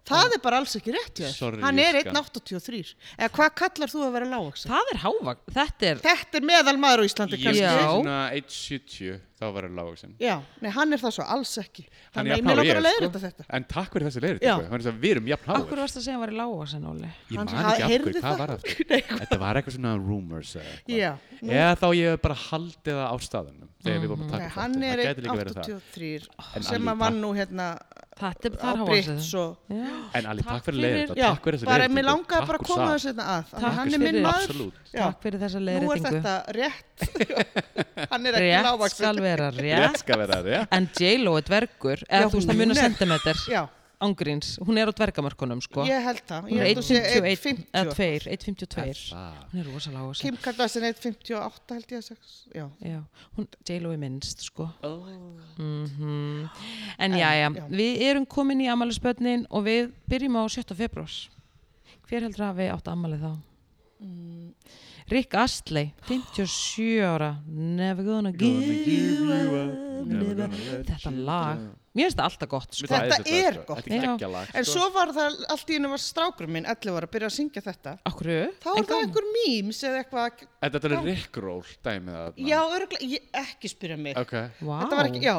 C: það er bara alls ekki rétt hjá þér.
B: Sorry,
C: hann er
B: ég skal.
C: 1,83 eða hvað kallar þú að vera lágvaxin?
A: það er hávak, þetta er
C: þetta er meðal maður á Íslandi
B: Ég
C: kannski
A: Já.
B: er svona 1.70 þá var ég lágvaxin
C: Já, nei, hann er það svo alls ekki
B: Hann
C: þannig
B: er
C: að mér lókar að
B: jafn hár og ég, sko.
C: leiðrita þetta
B: En takk fyrir þessi leiðir
C: Já.
B: Við erum jafn háir
A: Akkur varst að segja að hann var í lágasen, Óli?
B: Ég
C: Hann-
B: man ekki
C: hann-
B: af hverju,
C: heyrði
B: hvað
C: það?
B: var aftur? Þetta var eitthvað svona rumors eða eitthvað.
C: [LAUGHS] Já.
B: Eða þá ég hef bara haldið það á staðunum þegar við vorum að
C: Mm. Nei,
B: taka
C: hann
B: þáttinn.
C: er
B: Það gæti líka verið það.
C: 1,83
B: En
C: sem
B: alveg,
C: að vann nú hérna
A: Þetta er, það
C: á
A: er hávaksið.
C: Brits og
B: En Ali, takk
A: Takk
B: fyrir leiðir
C: Já,
B: Takk fyrir þessi leiðir
C: bara mér langaði bara að koma þessu hérna að
A: Takk
C: Þannig hann er
A: fyrir.
C: minn maður
B: Absolutt
C: Já.
A: Takk fyrir þessa
C: Nú er
A: leiðréttingu.
C: þetta
B: [LAUGHS]
C: rétt Hann er ekki
A: Rétt skal
C: lágvaxin
A: vera
C: [LAUGHS]
B: Ég
A: rétt.
B: skal vera það, já
A: En J-Lo er dvergur, eða
C: Já,
A: þú veist það
C: hún
A: munar
C: er-
A: sentimeter
C: Já,
A: ángríns, hún er á dvergamörkunum sko
C: ég held það
A: hún
C: Ég
A: er
C: held að sé
A: 1.51 eða
C: 1,50
A: 2, 1.52
B: Það.
A: hún er rosalega á þessu
C: Kim Kardashian 1,58 held ég að sex Já,
A: Já, hún, J-Lo er minnst sko
B: Oh my
A: mm En já, já,
C: já.
A: við erum komin í ammælisbönnin og við byrjum á 7. februars Hver heldur að við átt ammælið þá?
C: Mm.
A: Rick Astley, 57 ára Never gonna give you up never gonna- Þetta lag, mér finnst það alltaf gott sko.
C: Þetta er gott.
B: Þetta er
A: Já.
B: geggja lag
C: En
B: sko.
C: svo var það, allt í hennu var strákur minn 11 var að byrja að syngja þetta
A: Akkur
C: Þá er það einhver mýms eða eitthvað
B: En Þetta er rickroll dæmið þarna.
C: Já, örgulega, ég, ekki spyrja mig
B: Ok
A: wow.
C: Þetta var ekki, já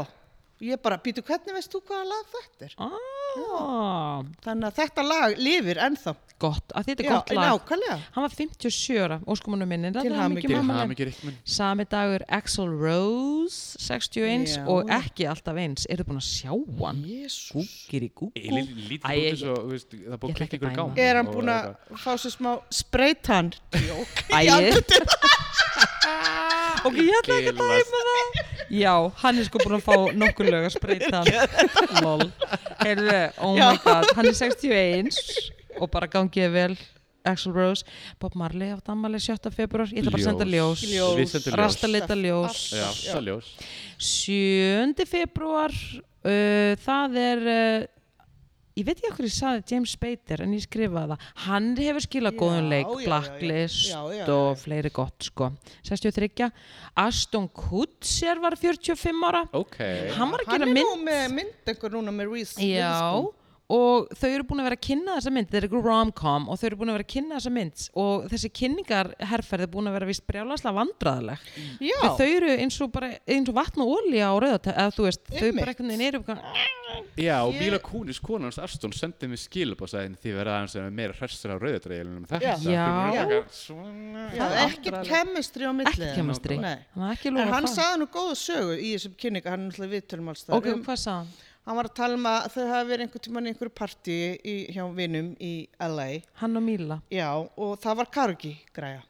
C: Ég bara, býtu, hvernig veist þú hvaða lag þetta er?
A: ah,
C: Þannig að þetta lag lifir ennþá
A: Gott, að þetta er
C: Já,
A: gott lag
C: Nákvæmlega
A: Hann var 57 ára, óskumunum minni
C: Til hamingju.
B: Til hafum ekki rickminn
A: Sami dagur Axl Rose 61
C: Já.
A: og ekki alltaf eins Eru búin að sjá hann?
C: Jésús
A: Gúkir í gúkú Æ,
B: Lítið út
A: ég-
B: eins og þú veist, það
A: Ég
B: er búið að
A: ætla
B: klikka
A: ekki
B: ykkur
A: að
B: í
A: dæma.
B: gang
C: Er hann búinn að fá sér smá spreytan?
A: Æ, [LAUGHS] ok, ég ætla ekki að
B: Bilast.
A: dæma það Já, hann er sko búin að fá nokkur lög að spreita
C: [LAUGHS]
A: hann Lol Heyrðu, oh
C: Já.
A: my god, hann er 61 og bara gangið vel Axl Rose, Bob Marley átt ammali 7. februar, ég ætla bara að senda ljós
C: Ljós.
B: Við sendum ljós
A: Rastalita ljós
B: Já, það er ljós
A: 7. februar uh, það er uh, ég veit ekki okkur ég saði James Spader en ég skrifaði það, hann hefur skilað
C: Já,
A: góðum leik,
C: já, já, já.
A: Blacklist
C: Já, já, já.
A: og fleiri gott sko 63, Aston Kutcher var 45 ára
B: Ok
A: hann var að
C: Hann
A: gera
C: er nú
A: mynd
C: með mynd einhver núna með Reese
A: já,
C: sko.
A: og þau eru búin að vera að kynna þessa mynd, þetta er eitthvað rom-com og þau eru búin að vera að kynna þessa mynd og þessi kynningarherferð er búin að vera vist brjálaslega vandræðaleg
C: Witherspoon. Já,
A: Já. þau eru eins og, bara, eins og vatn og olja á rauðatæð eða þú veist, þau
C: Einmitt.
A: bara einhvern veginn eru eitthvað-
B: Já, og
C: Ég-
B: Mila Kunis, konan hans Aston, sendið mér skilub og sagði því verða aðeins að meira hressir á rauðadreilinum
C: Já.
B: þetta.
A: Já.
C: já
B: Já.
C: ekki kemistri á milli
A: ekki kemastri
C: Nei.
A: hann var ekki
C: En
A: lóra
C: hann
A: það
C: sagði nú góða sögu í þessum kynningu, hann er náttúrulega viðtölum alls Um þar
A: ok, hvað sagði hann?
C: Hann var að tala um að þau hafi verið einhvern tímann í einhverju partí í, hjá vinum í LA
A: hann og Míla
C: Já, og það var karaoke græja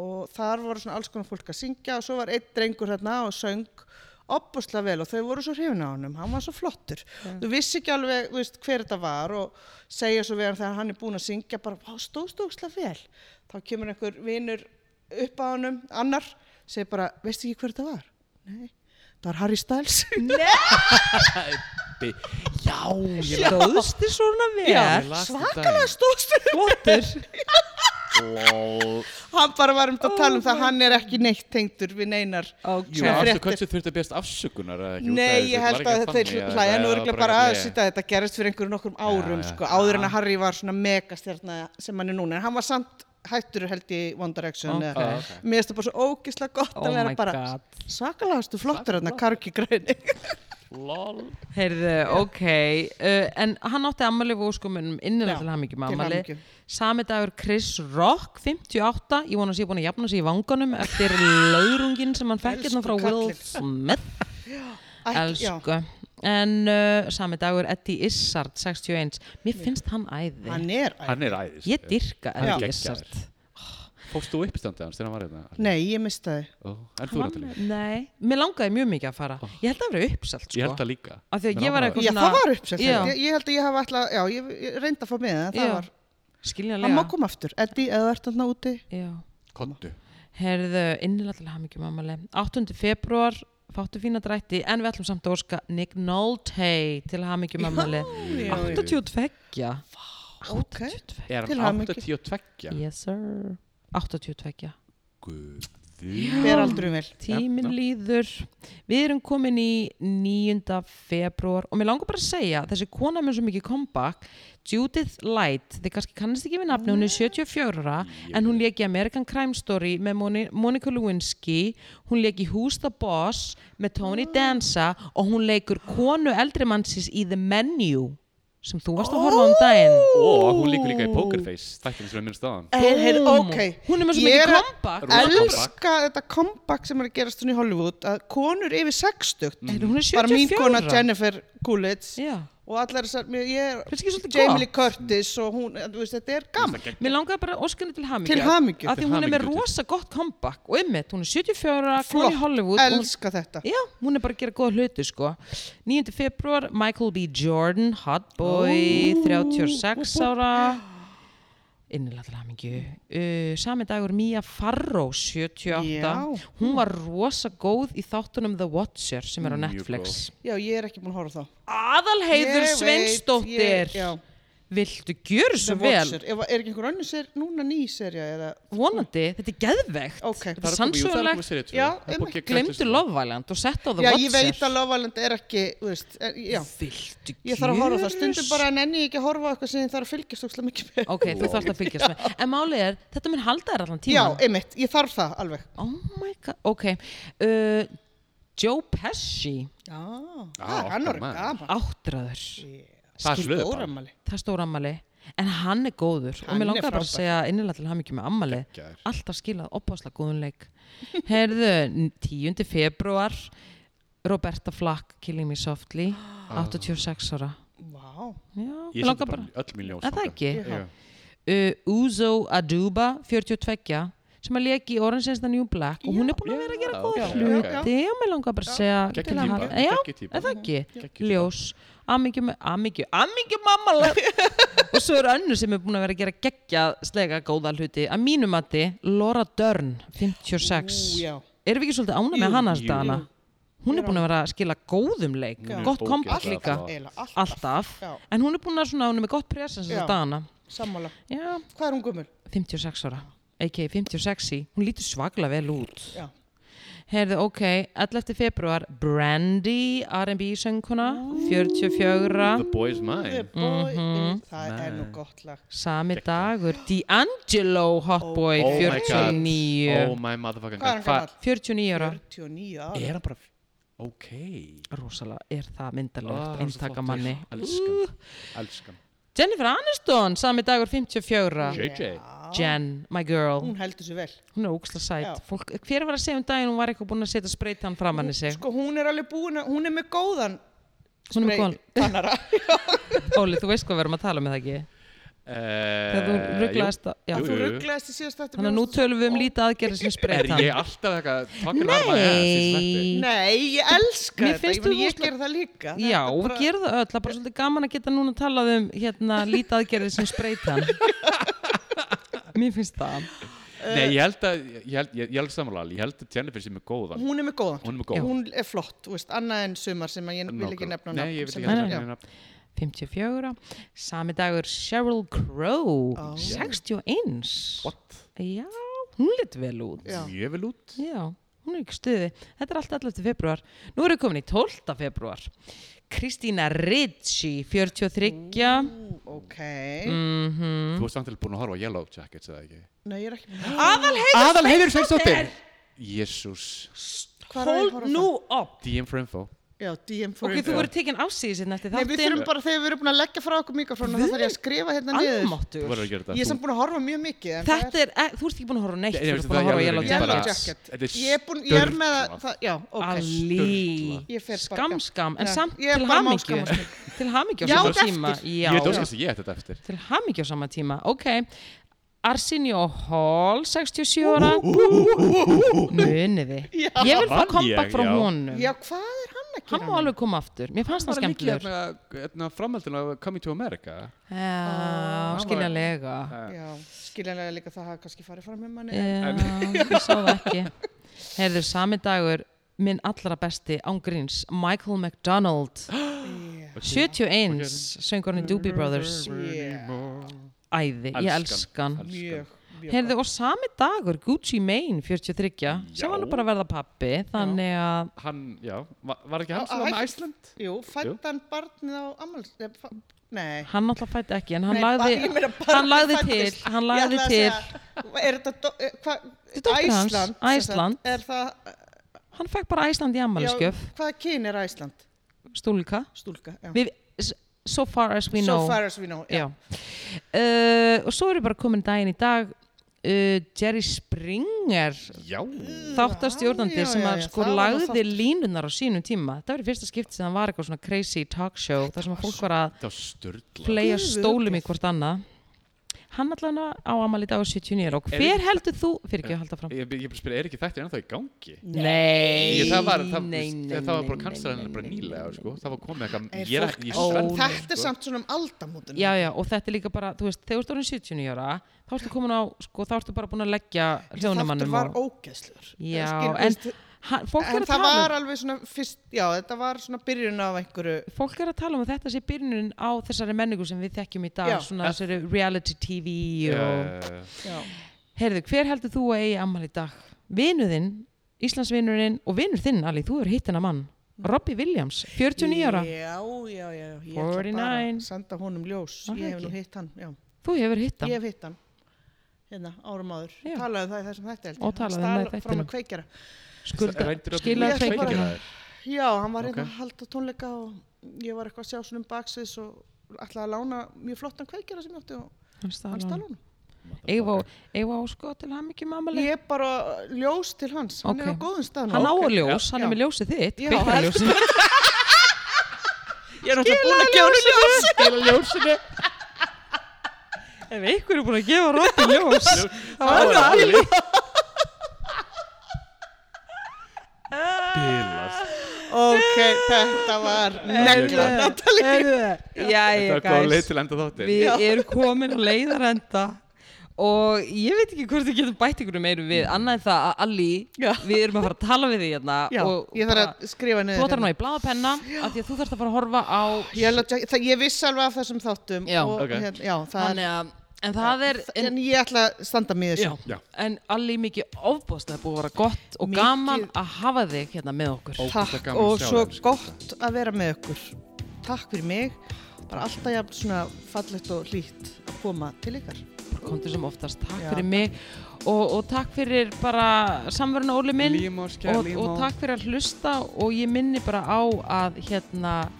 C: og þar voru svona alls konar fólk að syngja og svo var einn drengur hérna og söng opbúslega vel og þau voru svo hrifin á honum, hann var svo flottur þú vissi ekki alveg þú veist, hver þetta var og segja svo við hann þegar hann er búinn að syngja bara "Vá, stóðst ókslega vel þá kemur einhver vinur upp á honum annar, segir bara, veistu ekki hver þetta var? Nei, það var Harry Styles [LAUGHS]
B: Já, ég
A: stóðst þið svona vel
B: las þetta
C: svakalega stóðst
A: flottur
B: Lol.
C: hann bara var um þetta að tala um það hann er ekki neitt tengdur við neinar
B: Jú,
C: Sem
B: Aston
C: fréttir.
B: Kutcher þurfti að beðast afsökunar eða ekki út af þessu,
C: Nei, ég
B: var
C: held
B: ekki
C: að þeir
B: þannig, eða
C: hlæja
B: það
C: nú
B: var
C: örgulega bara að
B: eitthvað-
C: sýta að þetta gerist fyrir einhverjum nokkrum árum
B: já.
C: sko, áður en að Harry var svona megastjarna sem hann er núna, en hann var samt hættur held í One Direction
A: Ok.
C: eða-
B: Ah, ok.
C: Mér finnst það bara svo ógislega gott
A: Oh
C: að vera
A: my
C: bara
A: God.
C: svakalastu flottur þarna karki [LAUGHS] græni
B: Lol.
A: heyrðu, ok uh, en hann átti ammali við óskumunum innilega
C: Já,
A: til hamingjum
C: til
A: ammali
C: hamingju.
A: sami dagur Chris Rock 58, ég vona að sé búin að jafna sig í vanganum eftir laurungin sem hann fekk hérna
C: Elsku
A: frá Will
C: kallinn.
A: Smith
C: Ætli- já,
A: Elsku. En uh, sami dagur Eddie Izzard, 61. Mér finnst hann æði.
C: Hann er æ-
B: Hann er æðis
A: Ég dyrka
B: er
A: Eddie
B: geggjaður.
A: Izzard.
B: Fórst þú uppstandið hans þegar hann var hérna?
C: Nei, ég mista þið
B: Ó, En þú er
A: Hann-
B: þetta líka
A: Nei, mér langaði mjög mikið að fara. Ég held að það verið uppselt, sko.
B: Ég held það líka
A: Af því að
B: Mér
A: ég var
B: langaði-
A: eitthvað
C: Já,
A: svona...
C: það var uppsett
A: Já.
C: ég, ég held að ég hafa alltaf, já, ég, ég reyndi að fá með það, það
A: Já.
C: var Hann má
A: Skiljanlega.
C: koma aftur, Eddi, eða þú ert þarna úti
A: Já.
B: Kondu
A: Herðu, innilega til hamingjum ammali. 8. februar, fáttu fína drætti, en við ætlum samt að óska Nick Nolte til hamingjum ammali.
C: Já, já.
A: 82.
C: Ok,
B: Er
C: Til
B: hann
C: hamingju.
B: 82?
A: Yes, sir. 82.
B: Guð Byrðu.
C: ber aldrei vel
A: Tíminn
B: Já, já.
A: líður. Við erum komin í 9. februar og mér langar bara að segja að þessi kona með svo mikið comeback, Judith Light, þið kannski kannast ekki við nafni, hún er 74 ára en hún lék í American Crime Story með Moni Monica Lewinsky, hún lék í Who's the Boss með Tony
C: Ah.
A: Danza og hún leikur konu eldri mannsins í The Menu sem þú varst að horfa á um daginn.
C: Oh.
B: Og hún líkur líka í Pokerface, þættin sem við minnst aðan.
C: Hey, hey,
A: Búmm.
C: ok,
A: Hún er með svo
C: Ég
A: mikið
C: er að-
A: comeback.
B: Rosa comeback.
C: elska þetta comeback sem er að gerast svona í Hollywood að konur yfir sextugt
B: Mhm.
A: Er Hún er 74.
C: bara mín kona Jennifer Coolidge
A: Já.
C: og allar þessar, mér- ég
A: Finnst ekki svolítið
C: er Jamie
A: gott?
C: Lee Curtis og hún, þú veist, þetta er gaman
A: Mér langaði bara að óska henni til hamingju.
C: Til hamingju.
A: Af því
B: Til
A: hún er með
B: hamingju,
A: rosa gott comeback og ymmit, hún er 74, hún í Hollywood. og hún-
C: elska þetta
A: Já, hún er bara að gera góða hluti sko. 9. februar, Michael B. Jordan, hot boy, 36 ára. Innilega til hamingju. Uh, sami dagur Mia Farrow, 78.
C: Já. hm.
A: Hún var rosa góð í þáttunum The Watcher sem er á
B: Mjög
A: Netflix.
C: já, ég er ekki búin að horfa á þá
A: Aðalheiður
C: Ég veit,
A: Sveinsdóttir.
C: ég- já.
A: Viltu gjöru
C: The
A: svo vel?
C: Watcher, Ef- er ekki einhver önnur sér, núna ný serja eða,
A: vonandi, þetta er geðvegt
C: Ok.
A: þetta er sannsögulegt,
C: Já,
A: glemdu lovvælend og sett á það
C: já, ég veit að Lovaland er ekki, þú veist, er, já
A: viltu
C: Ég þarf að horfa á það,
A: gjörs-
C: stundum bara nenni ég ekki að horfa á eitthvað sem ég þarf að fylgjast ókslega mikið með.
A: ok, þú þarfst að fylgjast með, en málið er þetta mun halda þér allan
C: Já,
A: tíman
C: einmitt, ég þarf það alveg.
A: oh my god, ok uh, Joe Pesci
C: Já,
B: Ah,
C: hann
B: okkar
C: er
B: maður.
C: gaman.
A: áttræður,
B: Það er slöður bara.
C: Óramali.
A: það er stóra ammali en hann er góður og
C: Hann
A: mér
C: er
A: langar bara að
C: frábær.
A: segja innilega til hann ekki með ammali
B: Geggjaður.
A: alltaf skilað opásla góðunleik herðu, 10. februar Roberta Flack Killing Me Softly
C: Ah.
A: 86 ára
C: Vá.
A: Já,
B: Ég
A: mig
B: sendi
A: langar bara.
B: bara öll mín ljós.
A: Er það
B: þangað.
A: ekki?
B: Já.
A: Uh, Uzo Aduba, 42, sem að leki í Orange is the New Black og hún er búin að vera að gera
B: Já,
A: góða
B: ok, ok.
A: hluti og mér langar bara að segja
B: Geggjuð
A: til að
B: típa,
A: hafa- Já,
B: geggjuð típa.
A: er það ekki?
B: Geggjuð típa.
A: Ljós, amingju, amingju, amingju mamma
B: [LAUGHS]
A: og svo er önnu sem er búin að vera að gera geggja slega góða hluti að mínu mati, Laura Dern 56
C: Ú, já.
A: erum við ekki svolítið ána með hana
B: jú.
A: stana? Hún er búin að vera að skila góðum leik
B: Hún er
A: gott kompakt
B: ógeðslega
A: líka
B: flott.
C: Eila, alltaf.
A: alltaf,
C: Já.
A: en hún er búin að svona, hún er með gott presens þess
C: Já.
A: að dana
C: Sammála.
A: Já,
C: Hvað er hún gömul?
A: 56 ára a.k.a. 56 hún lítur svaklega vel út
C: Já.
A: heyrðu ok, 11. februar Brandy, R&B sönguna 44
B: The boy's mine.
C: Boy, Það er nú gott lag.
A: sami dagur D'Angelo Hotboy
B: Oh my god.
A: 49
B: Oh my motherfucking
C: Hvað er hann gammal?
A: 49 ára
C: 49 ára.
B: Er hann bara... Ok.
A: rosalega er það myndalegt
B: Ah,
A: einstaka
B: hann er
A: manni Uh.
B: svo flottur. Elskan. Elskan.
A: Jennifer Aniston, sami dagur 54
B: JJ.
A: Jen, my girl
C: Hún heldur sér vel.
A: hún er óksla
C: Já.
A: sæt Fólk, hver var að segja um daginn hún var eitthvað búin að setja spreytan fram hann í sig
C: Sko, hún er alveg búin að, hún er með góðan
A: Hún er með góðan-
C: tannara.
A: Óli, þú veist hvað við erum að tala um er það ekki
B: Þegar
A: þegar þú rugglaðist að já.
B: Eh, Jú,
C: Þú rugglaðist í síðast eftir.
A: þannig að nú tölum við um lítið aðgerðir sem
B: Er
A: spreytan
B: ég alltaf eitthvað fucking varma í það síðan þetta?
C: Nei, ég elska
A: Mér
C: þetta.
A: finnst
C: Ég meina,
A: þú
C: ég
A: rosalega-
C: ger það líka.
A: já,
C: Þetta er
A: við
C: bara-
A: gerum það öll það er bara svolítið gaman að geta núna talað um hérna lítið aðgerðir sem
B: [LAUGHS]
A: spreytan mér finnst það
B: Nei, ég held að, ég held, ég, ég held samanlega, ég held að Jennifer sem er góðan.
C: Hún er með góðan.
B: Hún er með góðan.
C: Hún er flott, þú veist, annað en sumar sem að ég vil ekki nefna
B: Nei,
C: nafn
B: ég vil
C: sem
B: ekki
A: er-
B: nefna
C: já.
B: henni nafn.
A: 54 sami dagur Sheryl Crow 61
B: What?
A: já, hún lit vel út
C: Já.
B: Mjög vel út.
A: já, hún er ekki stuði þetta er allt 11. februar nú erum við komin í 12. februar Kristína Ritchie 43
B: Mm.
C: Ú, Ok,
A: Mm.
B: Þú varst samtidig búin að horfa á Yellow Jackets eða ekki?
C: nei ég er ekki með
B: Aðal hefur sexóttir! Jésús.
C: Hvar á ég að
A: hold
C: horfa á
A: nú upp
B: DM for info.
C: Já, DM for
A: ok, þú voru tekin ásýðis hérna eftir
C: Nei, við þurfum
A: þáttinn
C: bara, þegar við erum búin að leggja frá okkur mikrofónu þá þarf ég að skrifa hérna niður
B: Þú
A: almáttur
B: verður að gera þetta.
C: Ég er samt búin að horfa mjög mikið en það
A: þetta er, e, þú ert ekki búin að horfa á neitt
B: Nei,
A: þú
B: nei,
A: ert
B: veistu,
A: búin að
B: það
A: horfa á
B: er
A: Yellow
B: alveg
C: Yellow
B: bara-
A: Jacket
C: Jacket
B: Þetta er sko.
C: Ég er búin, ég er með
B: sturlað.
C: það, já, ok
A: alí,
C: Ég fer bara-
A: skam skam en
C: Já,
A: samt
C: ég er
A: til
C: bara
A: hamingju
C: máskamast.
A: [LAUGHS] til hamingju á
C: Já,
A: sama
C: þetta
A: tíma
C: eftir.
B: Ég veit
A: já,
B: óskast að ég ætti þetta eftir.
A: til hamingju á sama tíma ok, Arsenio Hall 67 ára muniði ég vil fá
B: Vann ég,
A: comeback frá
B: já.
A: honum
C: Já, hvað er hann að
A: hann
C: gera?
A: má alveg koma aftur, mér fannst það skemmtilegur
B: Hérna framhaldinu af Coming to America.
A: já, skiljanlega
C: Já, skiljanlega líka það hafa kannski farið fram um með manni
A: Já, ég sá það ekki Heyrðu, sami dagur minn allra besti ángríns Michael
B: [GASPS]
A: McDonald 71, söngurinn í Doobie Brothers
C: Yeah,
A: Æði, ég
B: Elskan,
A: elskan
B: elskan.
C: mjög,
A: Heyrðu, og sami dagur, Gucci Mane 43, sem
B: Já.
A: var nú bara að verða pappi þannig að,
B: Hann, já, var, var ekki
C: Á- á
B: hann sem var með
C: hætt.
B: Æsland?
C: Jú, fættan barnið á ammals... Nei.
A: hann náttúrulega fætti ekki en hann
C: Nei,
A: lagði,
C: bara- ég meina, bara
A: hann lagði til
C: fæddist.
A: hann
C: Ég
A: lagði
C: ætla að
A: til,
C: segja, er þetta do- eh, hva,
A: Þetta er dóttir hans,
C: Æsland, sem sagt,
A: Æsland.
C: er það,
A: hann fekk bara Æsland í
C: já,
A: ammæliskjöf,
C: hvaða kyn er Æsland
A: stúlka
C: stúlka, já.
A: við, s- so far as we know
C: so far as we know
A: já. Uh, og svo erum við bara komin daginn í dag uh, Jerry Springer
B: Já,
A: þáttastjórnandi
C: já,
A: sem
C: já,
A: að
C: já,
A: sko
C: það var nú
A: lagði línunar á sínum tíma þetta var í fyrsta skipti sem það var eitthvað svona crazy talk show þar sem að fólk var að
B: það var störtla
A: fleja
C: Guð,
A: stólum í
C: ok.
A: hvort annað hann allan á- á amal í dag á 79 og
B: Er
A: hver
B: ekki-
A: heldur þú fyrir ekki að halda fram
B: Ég, ég bara spyrir, er ekki þetta ennþá í gangi?
A: Nei,
B: Ég, það var, það,
A: nei, nei,
B: það var bara
A: nei,
B: kanslar hennar
A: nei,
B: bara
A: nei,
B: nýlega,
A: nei,
B: sko. Það var komið
C: Er
B: eitthvað, ég er
C: fólk
B: ekki
A: Ó,
C: En
A: nei.
C: þetta
B: sko.
C: er samt svona um aldamótin
A: Já, já, og þetta er líka bara, þú veist, þegar þú erum 79 ára, þá ertu komin á, sko, þá ertu bara búin að leggja hljónamannum
C: var
A: á.
C: ógeðslur
A: Já,
C: Skil-
A: en
C: veist,
A: hann, fólk
C: en
A: er að
C: það
A: tala
C: var
A: um,
C: alveg svona fyrst, já, þetta var svona byrjun af einhverju
A: fólk er að tala um að þetta sé byrjunin á þessari menningu sem við þekkjum í dag,
C: Já.
A: svona þessari reality TV og...
B: Uh,
C: já.
A: Heyrðu, hver heldur þú að eigi ammal í dag? Vinuðinn, Íslandsvinurinn og vinur þinn, Ali, þú er hittina mann.
C: Mm.
A: Robbie Williams, 49 ára.
C: já, já, já, já, ég ætla bara
A: 49.
C: að senda honum ljós
A: Var það
C: ég hef
A: ekki?
C: nú hitt hann, já,
A: Þú hefur hitt
C: ég
A: hann.
C: hef hitt hann hérna, árum áður,
A: Já.
C: talaði um það í þessum þetta
A: Og talaði um það í
C: frá
A: þættinum.
C: með kveikjara
A: Skulda,
B: Rændir að
A: skilaði
C: Ég ætla bara-
A: kveikjara.
B: þér?
C: Já, hann var
B: Ok.
C: hérna að halda tónleika og ég var eitthvað að sjá svona um baksins og ætlaði að lána mjög flottan kveikjara sem ég átti og
A: Hann
C: hann
A: stal
C: stala
A: honum.
C: honum.
A: Eigum við á- eigum við á sko til hann mikið mammali?
C: Ég er bara ljós til hans, hann er á
A: Ok.
C: góðum stað
A: hann á
C: Ok.
A: að ljós, hann
C: Já.
A: er með ljósið þitt
C: Já,
A: kveikarljós
C: Ég er náttúrulega búin að gefa hann ljós.
B: Skila ljósinu.
A: [LAUGHS] ef einhver er búin að gefa Robby ljós þá er það
B: alveg.
A: alveg
B: Bilast.
C: Ok, þetta var negla
B: Ég-
C: Natalie.
A: jæja
B: Þetta var góð leið
A: guys
B: til að enda þáttir.
A: við erum komin að leiðarenda og ég veit ekki hvort þið getum bætt ykkur meiru við annað en það að Alli
C: Já.
A: við erum að fara að tala við því hérna
C: Já,
A: og
C: ég þarf að skrifa
A: þú
C: niður.
A: ætlar nú í
C: hérna.
A: blaðapenna af því að þú þarft að fara að horfa á
C: Ég, ætla að- það- ég viss alveg af þessum þáttum.
A: Já.
C: og,
B: Ok.
C: hérna, já það er,
A: þannig að en það er en,
C: en ég ætla að standa með þessu.
A: já.
B: Já.
A: en Alli mikið ofbóðslega búið að vera gott og
C: Mikið-
A: gaman að hafa þig hérna með okkur
B: Ógeðslega
C: Takk
B: gaman að
C: og
B: sjá
C: svo
B: þig, sko.
C: gott að vera með okkur. Takk fyrir mig. Bara alltaf jafn svona fallegt og hlýtt að koma til ykkar.
A: komdu sem oftast, takk
C: Já.
A: fyrir mig og, og takk fyrir bara samverðinu Óli minn
B: Líma, skæra
A: og,
B: líma.
A: og takk fyrir að hlusta og ég minni bara á að hérna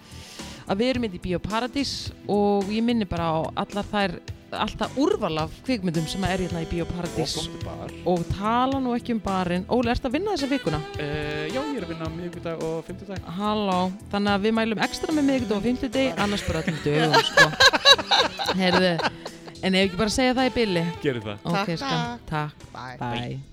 A: að við erum hérna í Bíóparadís og ég minni bara á allar þær alltaf úrval af kvikmyndum sem er hérna í Bíóparadís
B: Og flottu bar.
A: og tala nú ekki um barinn Óli, ertu að vinna þessa vikuna?
B: Eh, Já, ég er að vinna á miðvikudag og fimmtudag.
A: Halló, þannig að við mælum ekstra með miðgut og fimmtudegi, annars bara öllum dögum [LAUGHS] sko. Heyrðu, en ef ekki bara að segja það í billi
B: Gerið það.
A: Ok,
C: Takk,
A: skan, takk,
C: Bye.
A: bye.